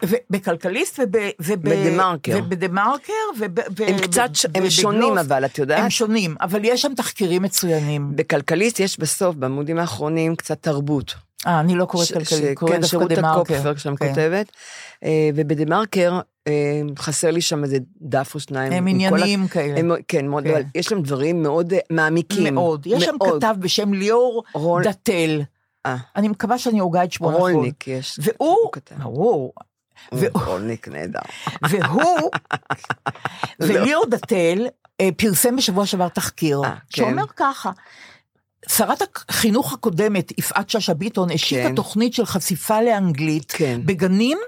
Speaker 3: ו- בכלכליסט וב... וב-
Speaker 4: בדה-מרקר.
Speaker 3: ובדה מרקר וב... ו-
Speaker 4: הם קצת, ש- הם שונים
Speaker 3: ובגלובס.
Speaker 4: אבל, אה? את
Speaker 3: הם
Speaker 4: יודעת?
Speaker 3: שונים, אבל יש שם תחקירים מצוינים.
Speaker 4: בכלכליסט יש בסוף, בעמודים האחרונים, קצת תרבות.
Speaker 3: אה, אני לא קוראת
Speaker 4: ש-
Speaker 3: כלכלית,
Speaker 4: ש-
Speaker 3: קוראת
Speaker 4: כן,
Speaker 3: דווקא
Speaker 4: שירות
Speaker 3: דה מרקר.
Speaker 4: הקופפר שם
Speaker 3: כן.
Speaker 4: כותבת. אה, ובדה מרקר, אה, חסר לי שם איזה דף או שניים.
Speaker 3: הם
Speaker 4: עם כל ה-
Speaker 3: ענייניים כאלה.
Speaker 4: הם- כן, מאוד,
Speaker 3: כן.
Speaker 4: אבל יש להם דברים מאוד אה, מעמיקים.
Speaker 3: מאוד. יש שם
Speaker 4: מאוד.
Speaker 3: כתב בשם ליאור
Speaker 4: רול-
Speaker 3: דתל.
Speaker 4: אה.
Speaker 3: אני מקווה שאני הוגה את שמו נכון.
Speaker 4: רולניק יש.
Speaker 3: והוא,
Speaker 4: הוא כתב.
Speaker 3: ברור, ו-
Speaker 4: רולניק נהדר. לא.
Speaker 3: והוא, וליאור דתל אה, פרסם בשבוע שעבר תחקיר,
Speaker 4: אה, כן.
Speaker 3: שאומר ככה, שרת החינוך הקודמת, יפעת שאשא ביטון, השיקה
Speaker 4: כן.
Speaker 3: תוכנית של חשיפה לאנגלית
Speaker 4: כן.
Speaker 3: בגנים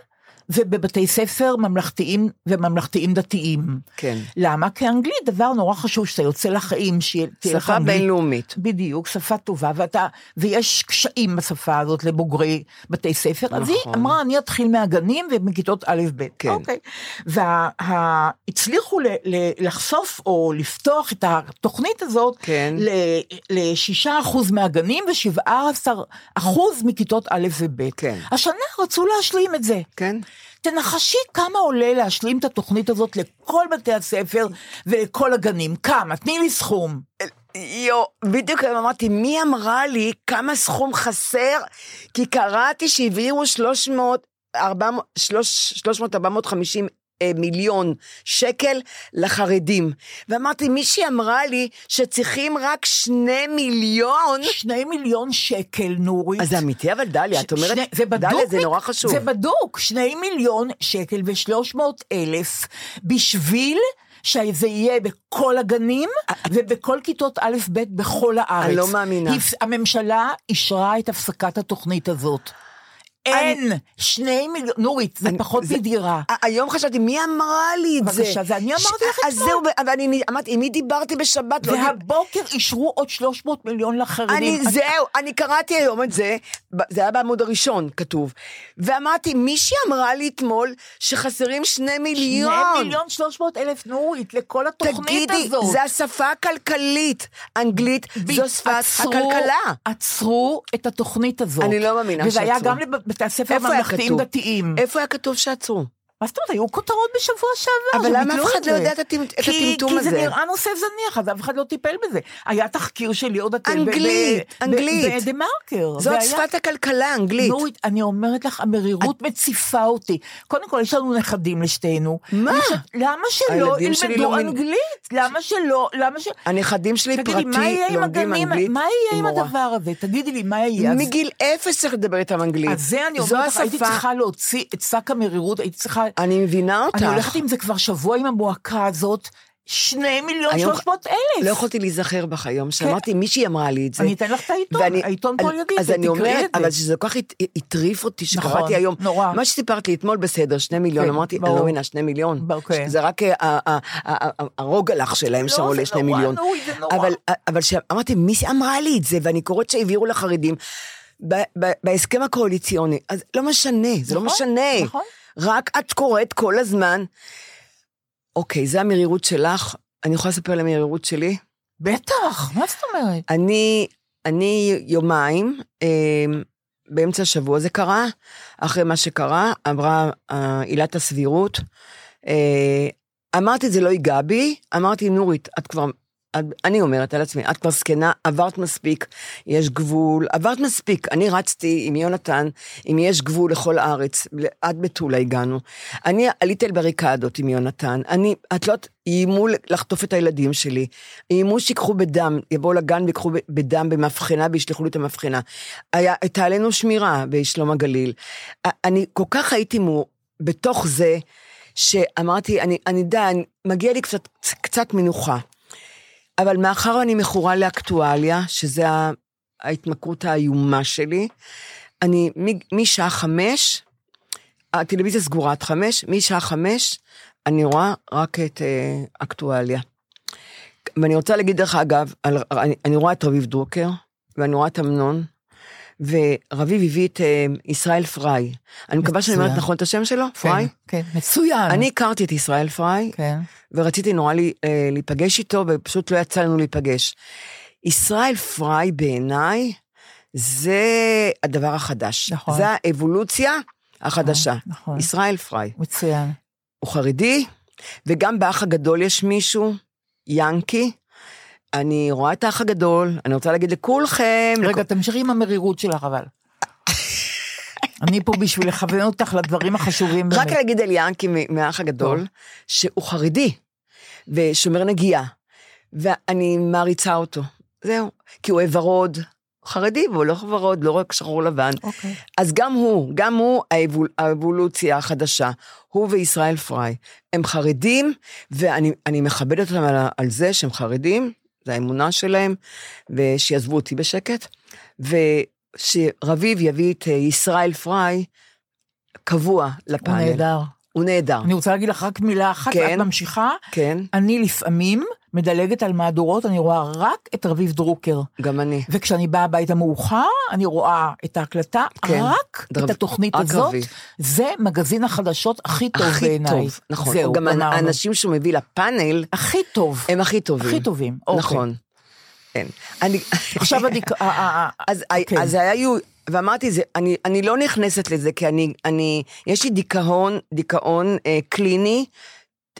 Speaker 3: ובבתי ספר ממלכתיים וממלכתיים דתיים.
Speaker 4: כן.
Speaker 3: למה? כי אנגלית דבר נורא חשוב, שאתה יוצא לחיים, שתהיה לך
Speaker 4: שפה
Speaker 3: אנגלית.
Speaker 4: בינלאומית.
Speaker 3: בדיוק, שפה טובה, ואתה, ויש קשיים בשפה הזאת לבוגרי בתי ספר, נכון. אז היא
Speaker 4: נכון.
Speaker 3: אמרה, אני אתחיל מהגנים ומכיתות א'-ב'.
Speaker 4: כן.
Speaker 3: אוקיי. והצליחו לחשוף או לפתוח את התוכנית הזאת
Speaker 4: כן.
Speaker 3: ל-6% מהגנים ו-17% מכיתות א' וב'.
Speaker 4: כן.
Speaker 3: השנה רצו להשלים את זה.
Speaker 4: כן.
Speaker 3: תנחשי כמה עולה להשלים את התוכנית הזאת לכל בתי הספר ולכל הגנים. כמה? תני לי סכום.
Speaker 4: יו, בדיוק היום אמרתי, מי אמרה לי כמה סכום חסר? כי קראתי שהבהירו 300, 400, 300, 450 אה, מיליון שקל לחרדים. ואמרתי, מישהי אמרה לי שצריכים רק שני מיליון.
Speaker 3: שני מיליון שקל, נורית.
Speaker 4: אז זה אמיתי, אבל דליה, את אומרת,
Speaker 3: שני, זה בדוק,
Speaker 4: דליה, זה
Speaker 3: מת-
Speaker 4: נורא חשוב.
Speaker 3: זה בדוק, שני מיליון שקל ושלוש מאות אלף בשביל שזה יהיה בכל הגנים ובכל כיתות א'-ב' בכל הארץ.
Speaker 4: אה, אני לא מאמינה.
Speaker 3: הפס- הממשלה אישרה את הפסקת התוכנית הזאת. אין שני מיליון, נורית, זה
Speaker 4: אני-
Speaker 3: פחות
Speaker 4: זה- אה,
Speaker 3: מדירה.
Speaker 4: ה- היום חשבתי, מי אמרה לי את זה?
Speaker 3: בבקשה, זה אני אמרתי לך
Speaker 4: אז זהו, אבל אני אמרתי, עם מי דיברתי בשבת? לא דיברתי.
Speaker 3: והבוקר אישרו עוד 300 מיליון לחרדים.
Speaker 4: אני, זהו, אני קראתי היום את זה, ב- זה היה בעמוד הראשון כתוב, ואמרתי, מישהי אמרה לי אתמול שחסרים שני מיליון.
Speaker 3: שני מיליון שלוש מאות אלף נורית לכל התוכנית
Speaker 4: תגידי,
Speaker 3: הזאת.
Speaker 4: זו השפה הכלכלית. אנגלית זו שפת
Speaker 3: עצרו-
Speaker 4: הכלכלה.
Speaker 3: עצרו את התוכנית הזאת.
Speaker 4: אני לא מאמינה
Speaker 3: וזה היה
Speaker 4: שעצרו.
Speaker 3: גם לבתי הספר
Speaker 4: איפה היה
Speaker 3: הממלכתיים
Speaker 4: כתוב?
Speaker 3: דתיים.
Speaker 4: איפה היה כתוב שעצרו?
Speaker 3: מה זאת אומרת, היו כותרות בשבוע שעבר.
Speaker 4: אבל למה
Speaker 3: שביטלו
Speaker 4: אף אחד
Speaker 3: את
Speaker 4: לא
Speaker 3: זה?
Speaker 4: יודע את הטמ- את
Speaker 3: כי-
Speaker 4: הטמטום
Speaker 3: כי זה
Speaker 4: הזה?
Speaker 3: נראה נושא זניח, אז אף אחד לא טיפל בזה. היה תחקיר שלי עוד אתם.
Speaker 4: אנגלית, אנגלית.
Speaker 3: בדה מרקר.
Speaker 4: זאת שפת הכלכלה, אנגלית.
Speaker 3: נורית, אני אומרת לך, המרירות מציפה אותי. קודם כל, יש לנו נכדים לשתינו.
Speaker 4: מה?
Speaker 3: אני חושבת, למה שלא
Speaker 4: הילדים שלי לא
Speaker 3: ילמדו
Speaker 4: מין-
Speaker 3: אנגלית? למה שלא? למה ש...
Speaker 4: הנכדים שלי
Speaker 3: תגידי, מה
Speaker 4: פרטי
Speaker 3: יהיה עם
Speaker 4: לומדים
Speaker 3: הגנים,
Speaker 4: אנגלית
Speaker 3: מה יהיה עם
Speaker 4: מורה.
Speaker 3: הדבר הזה? תגידי לי, מה יהיה? אז-
Speaker 4: מגיל אפס צריך לדבר איתם אנגלית.
Speaker 3: אז זה אני
Speaker 4: זו
Speaker 3: אומרת לך, הייתי
Speaker 4: השפה.
Speaker 3: צריכה להוציא את שק המרירות, הייתי צריכה...
Speaker 4: אני מבינה אותך.
Speaker 3: אני הולכת עם זה כבר שבוע עם המועקה הזאת, שני מיליון
Speaker 4: היום-
Speaker 3: שלוש מאות אלף. כן.
Speaker 4: לא יכולתי להיזכר בך היום, שאמרתי, מישהי אמרה לי את זה.
Speaker 3: אני אתן לך את העיתון,
Speaker 4: ואני-
Speaker 3: העיתון פה
Speaker 4: אז-
Speaker 3: יגיד,
Speaker 4: אז אני
Speaker 3: תקראי
Speaker 4: אומרת,
Speaker 3: את זה.
Speaker 4: אבל שזה כל כך הט- הטריף אותי
Speaker 3: נכון,
Speaker 4: שקראתי היום.
Speaker 3: נורא.
Speaker 4: מה שסיפרת לי אתמול בסדר, שני מיליון,
Speaker 3: כן,
Speaker 4: אמרתי, אני
Speaker 3: ברור.
Speaker 4: לא מבינה, שני מיליון.
Speaker 3: אוקיי.
Speaker 4: זה רק אה, ה- ה- ה- ה- הרוגלח שלהם
Speaker 3: לא,
Speaker 4: שם
Speaker 3: זה
Speaker 4: עולה שני
Speaker 3: נורא,
Speaker 4: מיליון.
Speaker 3: נורא, זה נורא.
Speaker 4: אבל- אה, אבל אמרתי, מי אמרה לי את זה? ואני קוראת שהעבירו לחרדים. ב- ב- בהסכם הקואליציוני, אז לא משנה, זה לא
Speaker 3: נכון,
Speaker 4: משנה.
Speaker 3: נכון.
Speaker 4: רק את קוראת כל הזמן. אוקיי, זה המרירות שלך. אני יכולה לספר על המרירות שלי?
Speaker 3: בטח, נכון, מה זאת אומרת?
Speaker 4: אני, אני יומיים, אה, באמצע השבוע זה קרה, אחרי מה שקרה, עברה אה, עילת הסבירות. אה, אמרתי, זה לא ייגע בי, אמרתי, נורית, את כבר, את, אני אומרת על עצמי, את כבר זקנה, עברת מספיק, יש גבול, עברת מספיק. אני רצתי עם יונתן, אם יש גבול לכל הארץ, ל- עד מטולה הגענו. אני עליתי על בריקדות עם יונתן, אני, את לא, איימו ל- לחטוף את הילדים שלי, איימו שיקחו בדם, יבואו לגן ויקחו ב- בדם במבחנה וישלחו לי את המבחנה. היה, הייתה עלינו שמירה בשלום הגליל. א- אני כל כך הייתי מו, בתוך זה, שאמרתי, אני, אני די, אני- מגיע לי קצת, קצת מנוחה. אבל מאחר ואני מכורה לאקטואליה, שזה ה- ההתמכרות האיומה שלי, אני מ- משעה חמש, הטלוויזיה סגורה עד חמש, משעה חמש אני רואה רק את אה, אקטואליה. ואני רוצה להגיד, דרך אגב, על, אני, אני רואה את רביב דרוקר, ואני רואה את אמנון, ורביב הביא את אה, ישראל פריי. אני מקווה שאני אומרת
Speaker 3: מצוין.
Speaker 4: נכון את השם שלו, פריי.
Speaker 3: כן, כן, מצוין.
Speaker 4: אני הכרתי את ישראל פריי,
Speaker 3: כן.
Speaker 4: ורציתי נורא לי, אה, להיפגש איתו, ופשוט לא יצא לנו להיפגש. ישראל פריי בעיניי, זה הדבר החדש.
Speaker 3: נכון.
Speaker 4: זה האבולוציה החדשה.
Speaker 3: נכון.
Speaker 4: ישראל פריי.
Speaker 3: מצוין.
Speaker 4: הוא חרדי, וגם באח הגדול יש מישהו, ינקי. אני רואה את האח הגדול, אני רוצה להגיד לכולכם,
Speaker 3: רגע,
Speaker 4: לכ-
Speaker 3: תמשיכי עם המרירות שלך, אבל. אני פה בשביל לכוון אותך לדברים החשובים
Speaker 4: רק
Speaker 3: באמת.
Speaker 4: להגיד על ינקי מ- מהאח הגדול,
Speaker 3: טוב.
Speaker 4: שהוא חרדי, ושומר נגיעה, ואני מעריצה אותו. זהו. כי הוא אוהב ורוד, חרדי, והוא לא ורוד, לא רק שחור לבן.
Speaker 3: אוקיי.
Speaker 4: אז גם הוא, גם הוא האבול, האבולוציה החדשה. הוא וישראל פריי. הם חרדים, ואני אני מכבדת אותם על, ה- על זה שהם חרדים, זה האמונה שלהם, ושיעזבו אותי בשקט. ושרביב יביא את אה, ישראל פריי קבוע
Speaker 3: הוא
Speaker 4: לפאנל.
Speaker 3: אה, נהדר.
Speaker 4: הוא נהדר.
Speaker 3: אני רוצה להגיד לך רק מילה אחת,
Speaker 4: כן.
Speaker 3: את ממשיכה.
Speaker 4: כן,
Speaker 3: אני לפעמים מדלגת על מהדורות, אני רואה רק את רביב דרוקר.
Speaker 4: גם אני.
Speaker 3: וכשאני באה הביתה מאוחר, אני רואה את ההקלטה,
Speaker 4: כן.
Speaker 3: רק
Speaker 4: דרב-
Speaker 3: את התוכנית
Speaker 4: רק
Speaker 3: הזאת.
Speaker 4: רביב.
Speaker 3: זה מגזין החדשות הכי טוב
Speaker 4: הכי
Speaker 3: בעיניי.
Speaker 4: טוב, נכון.
Speaker 3: זהו,
Speaker 4: גם
Speaker 3: גמרנו.
Speaker 4: האנשים שהוא מביא לפאנל,
Speaker 3: הכי טוב.
Speaker 4: הם הכי טובים.
Speaker 3: הכי טובים, אוקיי.
Speaker 4: נכון. כן. אני...
Speaker 3: עכשיו אני... אה, אה, אה,
Speaker 4: אז,
Speaker 3: אוקיי.
Speaker 4: okay. אז היה יו... ואמרתי, זה, אני, אני לא נכנסת לזה, כי אני, אני, יש לי דיכאון, דיכאון אה, קליני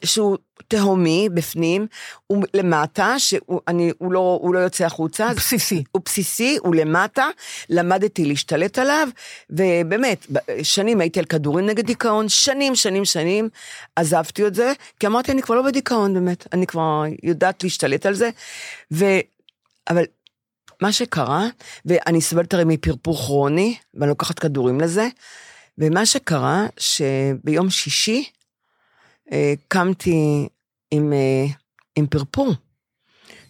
Speaker 4: שהוא תהומי בפנים, הוא למטה, שהוא אני, הוא לא, הוא לא יוצא החוצה, אז
Speaker 3: בסיסי.
Speaker 4: הוא בסיסי, הוא למטה, למדתי להשתלט עליו, ובאמת, ב- שנים הייתי על כדורים נגד דיכאון, שנים, שנים, שנים, עזבתי את זה, כי אמרתי, אני כבר לא בדיכאון, באמת, אני כבר יודעת להשתלט על זה, ו... אבל מה שקרה, ואני סובלת הרי מפרפור כרוני, ואני לוקחת כדורים לזה, ומה שקרה, שביום שישי אה, קמתי עם, אה, עם פרפור,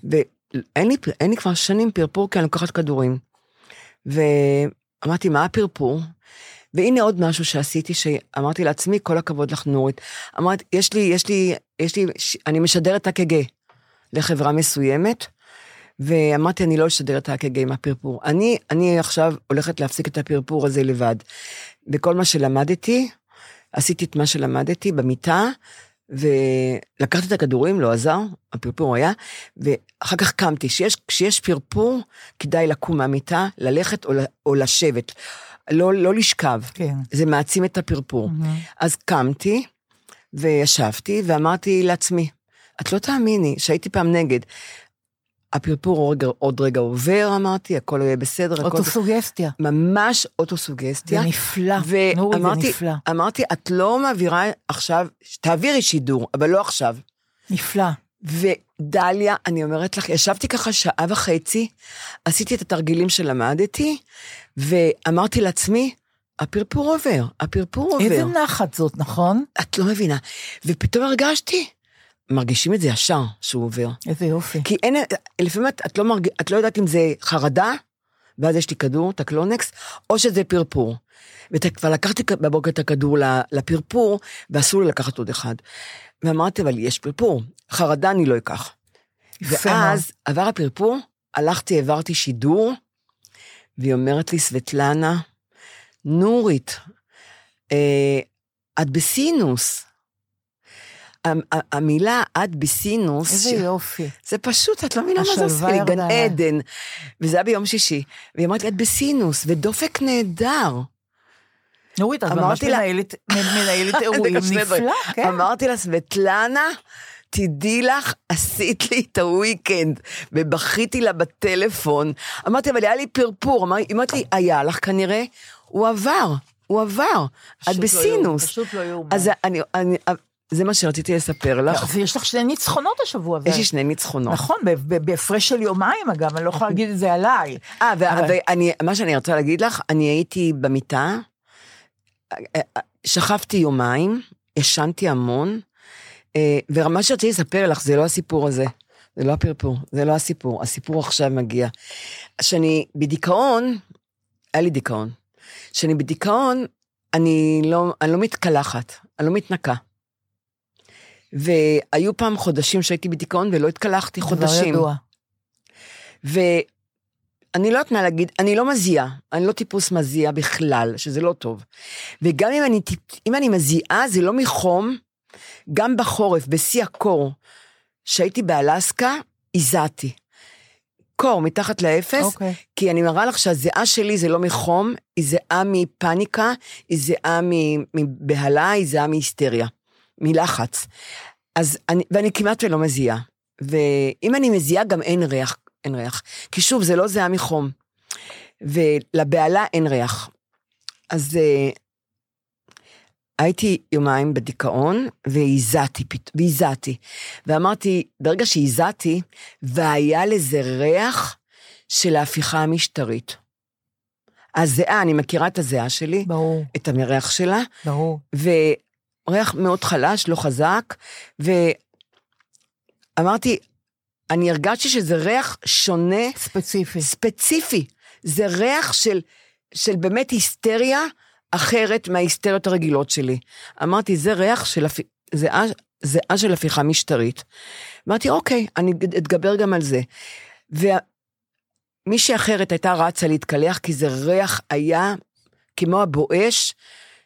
Speaker 4: ואין לי, אין לי כבר שנים פרפור, כי אני לוקחת כדורים. ואמרתי, מה הפרפור? והנה עוד משהו שעשיתי, שאמרתי לעצמי, כל הכבוד לך, נורית. אמרת, יש לי, יש לי, יש לי, ש- אני משדרת אק"ג לחברה מסוימת, ואמרתי, אני לא אשדר את האק"ג עם הפרפור. אני, אני עכשיו הולכת להפסיק את הפרפור הזה לבד. בכל מה שלמדתי, עשיתי את מה שלמדתי במיטה, ולקחתי את הכדורים, לא עזר, הפרפור היה, ואחר כך קמתי. שיש, כשיש פרפור, כדאי לקום מהמיטה, ללכת או, ל- או לשבת. לא, לא לשכב.
Speaker 3: כן. Mm-hmm.
Speaker 4: זה מעצים את הפרפור.
Speaker 3: מהמם.
Speaker 4: אז קמתי, וישבתי, ואמרתי לעצמי, את לא תאמיני שהייתי פעם נגד. הפרפור עוד רגע- עוד רגע עובר, אמרתי, הכל יהיה בסדר, הכל...
Speaker 3: אוטוסוגסטיה.
Speaker 4: ממש
Speaker 3: זה
Speaker 4: אוטוסוגסטיה.
Speaker 3: נפלא, נורי, זה
Speaker 4: ואמרתי,
Speaker 3: נפלא.
Speaker 4: אמרתי, את לא מעבירה עכשיו, תעבירי שידור, אבל לא עכשיו.
Speaker 3: נפלא.
Speaker 4: ודליה, אני אומרת לך, ישבתי ככה שעה וחצי, עשיתי את התרגילים שלמדתי, ואמרתי לעצמי, הפרפור עובר, הפרפור עובר.
Speaker 3: איזה נחת זאת, נכון?
Speaker 4: את לא מבינה. ופתאום הרגשתי, מרגישים את זה ישר שהוא עובר.
Speaker 3: איזה יופי.
Speaker 4: כי אין, לפעמים את, את, לא מרג... את לא יודעת אם זה חרדה, ואז יש לי כדור, את הקלונקס, או שזה פרפור. וכבר לקחתי כ- בבוקר את הכדור ל- לפרפור, ואסור לי לקחת עוד אחד. ואמרתי, אבל יש פרפור, חרדה אני לא אקח.
Speaker 3: יפה מאוד.
Speaker 4: ואז עבר הפרפור, הלכתי, העברתי שידור, והיא אומרת לי, סבטלנה, נורית, אה, את בסינוס. המ- ה- המילה את בסינוס,
Speaker 3: איזה
Speaker 4: ש-
Speaker 3: יופי.
Speaker 4: זה פשוט, את לא מבינה מה זה
Speaker 3: השלווה
Speaker 4: עושה לי, גן
Speaker 3: ירדה.
Speaker 4: עדן. וזה היה ביום שישי, והיא אמרת לי, את בסינוס, ודופק נהדר.
Speaker 3: נורית, את ממש
Speaker 4: אמרתי לה-
Speaker 3: מנהלת- מנהלת אירועים.
Speaker 4: זה גם שני דברים.
Speaker 3: נפלא, כן.
Speaker 4: אמרתי לה, סבטלנה, תדעי לך, עשית לי את הוויקנד, ובכיתי לה בטלפון. אמרתי, אבל היה לי פרפור. אמר- היא אמרת לי, היה לך כנראה, הוא עבר, הוא עבר, את
Speaker 3: פשוט לא
Speaker 4: בסינוס.
Speaker 3: יאומן, פשוט לא יאומן.
Speaker 4: אז אני, אני, זה מה שרציתי לספר לך.
Speaker 3: אז יש לך שני ניצחונות השבוע.
Speaker 4: יש
Speaker 3: זה-
Speaker 4: לי שני ניצחונות.
Speaker 3: נכון, ב- ב- בהפרש של יומיים אגב, אני לא יכולה להגיד את זה עליי.
Speaker 4: אה, ו-
Speaker 3: אבל-
Speaker 4: ואני, מה שאני רוצה להגיד לך, אני הייתי במיטה, אה, שכבתי יומיים, ישנתי המון, אה, ומה שרציתי לספר לך, זה לא הסיפור הזה. זה לא הפרפור, זה לא הסיפור, הסיפור עכשיו מגיע. כשאני בדיכאון, היה לי דיכאון. כשאני בדיכאון, אני לא, אני לא מתקלחת, אני לא מתנקה. והיו פעם חודשים שהייתי בדיכאון ולא התקלחתי,
Speaker 3: דבר
Speaker 4: חודשים.
Speaker 3: ידוע.
Speaker 4: ואני לא יודעת מה להגיד, אני לא מזיעה, אני לא טיפוס מזיע בכלל, שזה לא טוב. וגם אם אני, טיפ- אם אני מזיעה, זה לא מחום, גם בחורף, בשיא הקור, שהייתי באלסקה, הזעתי. קור מתחת לאפס,
Speaker 3: אוקיי.
Speaker 4: כי אני מראה לך שהזיעה שלי זה לא מחום, היא זיעה מפניקה, היא זיעה מ- מבהלה, היא זיעה מהיסטריה, מלחץ. אז אני, ואני כמעט ולא מזיעה. ואם אני מזיעה, גם אין ריח, אין ריח. כי שוב, זה לא זיעה מחום. ולבהלה אין ריח. אז אה, הייתי יומיים בדיכאון, והזעתי, פת- והזעתי. ואמרתי, ברגע שהזעתי, והיה לזה ריח של ההפיכה המשטרית. הזיעה, אני מכירה את הזיעה שלי,
Speaker 3: ברור,
Speaker 4: את המריח שלה,
Speaker 3: ברור.
Speaker 4: וריח מאוד חלש, לא חזק, ואמרתי, אני הרגשתי שזה ריח שונה,
Speaker 3: ספציפי.
Speaker 4: ספציפי. זה ריח של, של באמת היסטריה אחרת מההיסטריות הרגילות שלי. אמרתי, זה ריח של, הפ- זיעה, זיעה של הפיכה משטרית. אמרתי, אוקיי, אני אג- אתגבר גם על זה. ומישהי אחרת הייתה רצה להתקלח, כי זה ריח היה כמו הבואש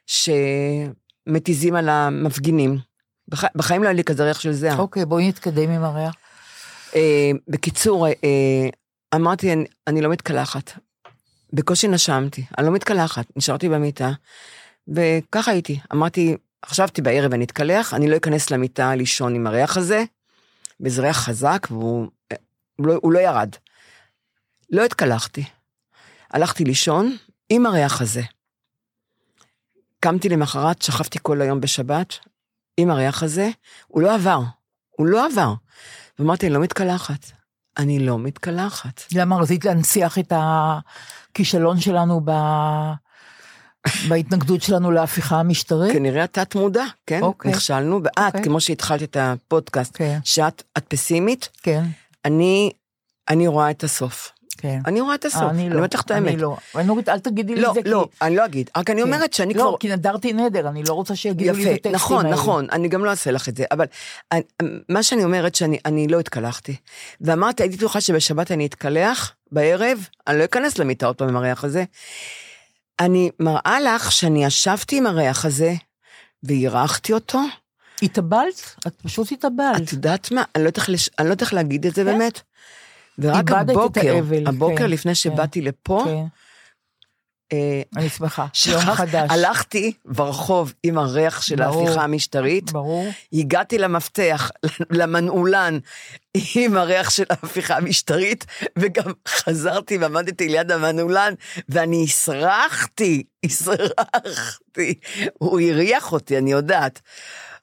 Speaker 4: שמתיזים על המפגינים. בח, בחיים לא היה לי כזה ריח של זיעה.
Speaker 3: אוקיי, בואי נתקדם עם הריח.
Speaker 4: אה, בקיצור, אה, אה, אמרתי, אני, אני לא מתקלחת. בקושי נשמתי, אני לא מתקלחת, נשארתי במיטה, וככה הייתי. אמרתי, חשבתי בערב אני אתקלח, אני לא אכנס למיטה לישון עם הריח הזה, וזה ריח חזק, והוא הוא לא, הוא לא ירד. לא התקלחתי. הלכתי לישון עם הריח הזה. קמתי למחרת, שכבתי כל היום בשבת עם הריח הזה, הוא לא עבר. הוא לא עבר. ואמרתי, אני לא מתקלחת. אני לא מתקלחת.
Speaker 3: למה רצית להנציח את הכישלון שלנו ב... בהתנגדות שלנו להפיכה המשטרית?
Speaker 4: כנראה התת-מודע, כן?
Speaker 3: אוקיי.
Speaker 4: נכשלנו, ואת,
Speaker 3: אוקיי.
Speaker 4: כמו שהתחלת את הפודקאסט,
Speaker 3: כן,
Speaker 4: שאת את פסימית,
Speaker 3: כן,
Speaker 4: אני, אני רואה את הסוף.
Speaker 3: כן.
Speaker 4: אני רואה את הסוף.
Speaker 3: אה,
Speaker 4: אני אומרת לך את האמת.
Speaker 3: אני לא. אבל נורית, אל תגידי לי
Speaker 4: לא,
Speaker 3: את זה,
Speaker 4: לא,
Speaker 3: כי...
Speaker 4: אני לא אגיד. רק אני
Speaker 3: כן.
Speaker 4: אומרת שאני
Speaker 3: לא,
Speaker 4: כבר...
Speaker 3: כי נדרתי נדר, אני לא רוצה שיגידו לי את
Speaker 4: יפה,
Speaker 3: הטקסטים
Speaker 4: נכון,
Speaker 3: האלה.
Speaker 4: נכון, אני גם לא אעשה לך את זה, אבל אני, מה שאני אומרת שאני אני לא התקלחתי. ואמרתי, הייתי בטוחה שבשבת אני אתקלח, בערב, אני לא אכנס למיטה עוד פעם עם הריח הזה. אני מראה לך שאני ישבתי עם הריח הזה, והירחתי אותו.
Speaker 3: התאבלת? את פשוט התאבלת.
Speaker 4: את יודעת מה? אני לא יודעת לש- אני לא יודעת להגיד את זה
Speaker 3: כן.
Speaker 4: באמת. ורק
Speaker 3: איבדת את
Speaker 4: הבוקר,
Speaker 3: האבל,
Speaker 4: הבוקר
Speaker 3: כן,
Speaker 4: לפני שבאתי לפה,
Speaker 3: כן,
Speaker 4: אה,
Speaker 3: אני שמחה. יום
Speaker 4: שכח-
Speaker 3: חדש.
Speaker 4: הלכתי ברחוב עם הריח של
Speaker 3: ברור.
Speaker 4: ההפיכה המשטרית,
Speaker 3: ברור.
Speaker 4: הגעתי למפתח, למנעולן, עם הריח של ההפיכה המשטרית, וגם חזרתי ועמדתי ליד המנעולן, ואני הסרחתי, הסרחתי. הוא הריח אותי, אני יודעת.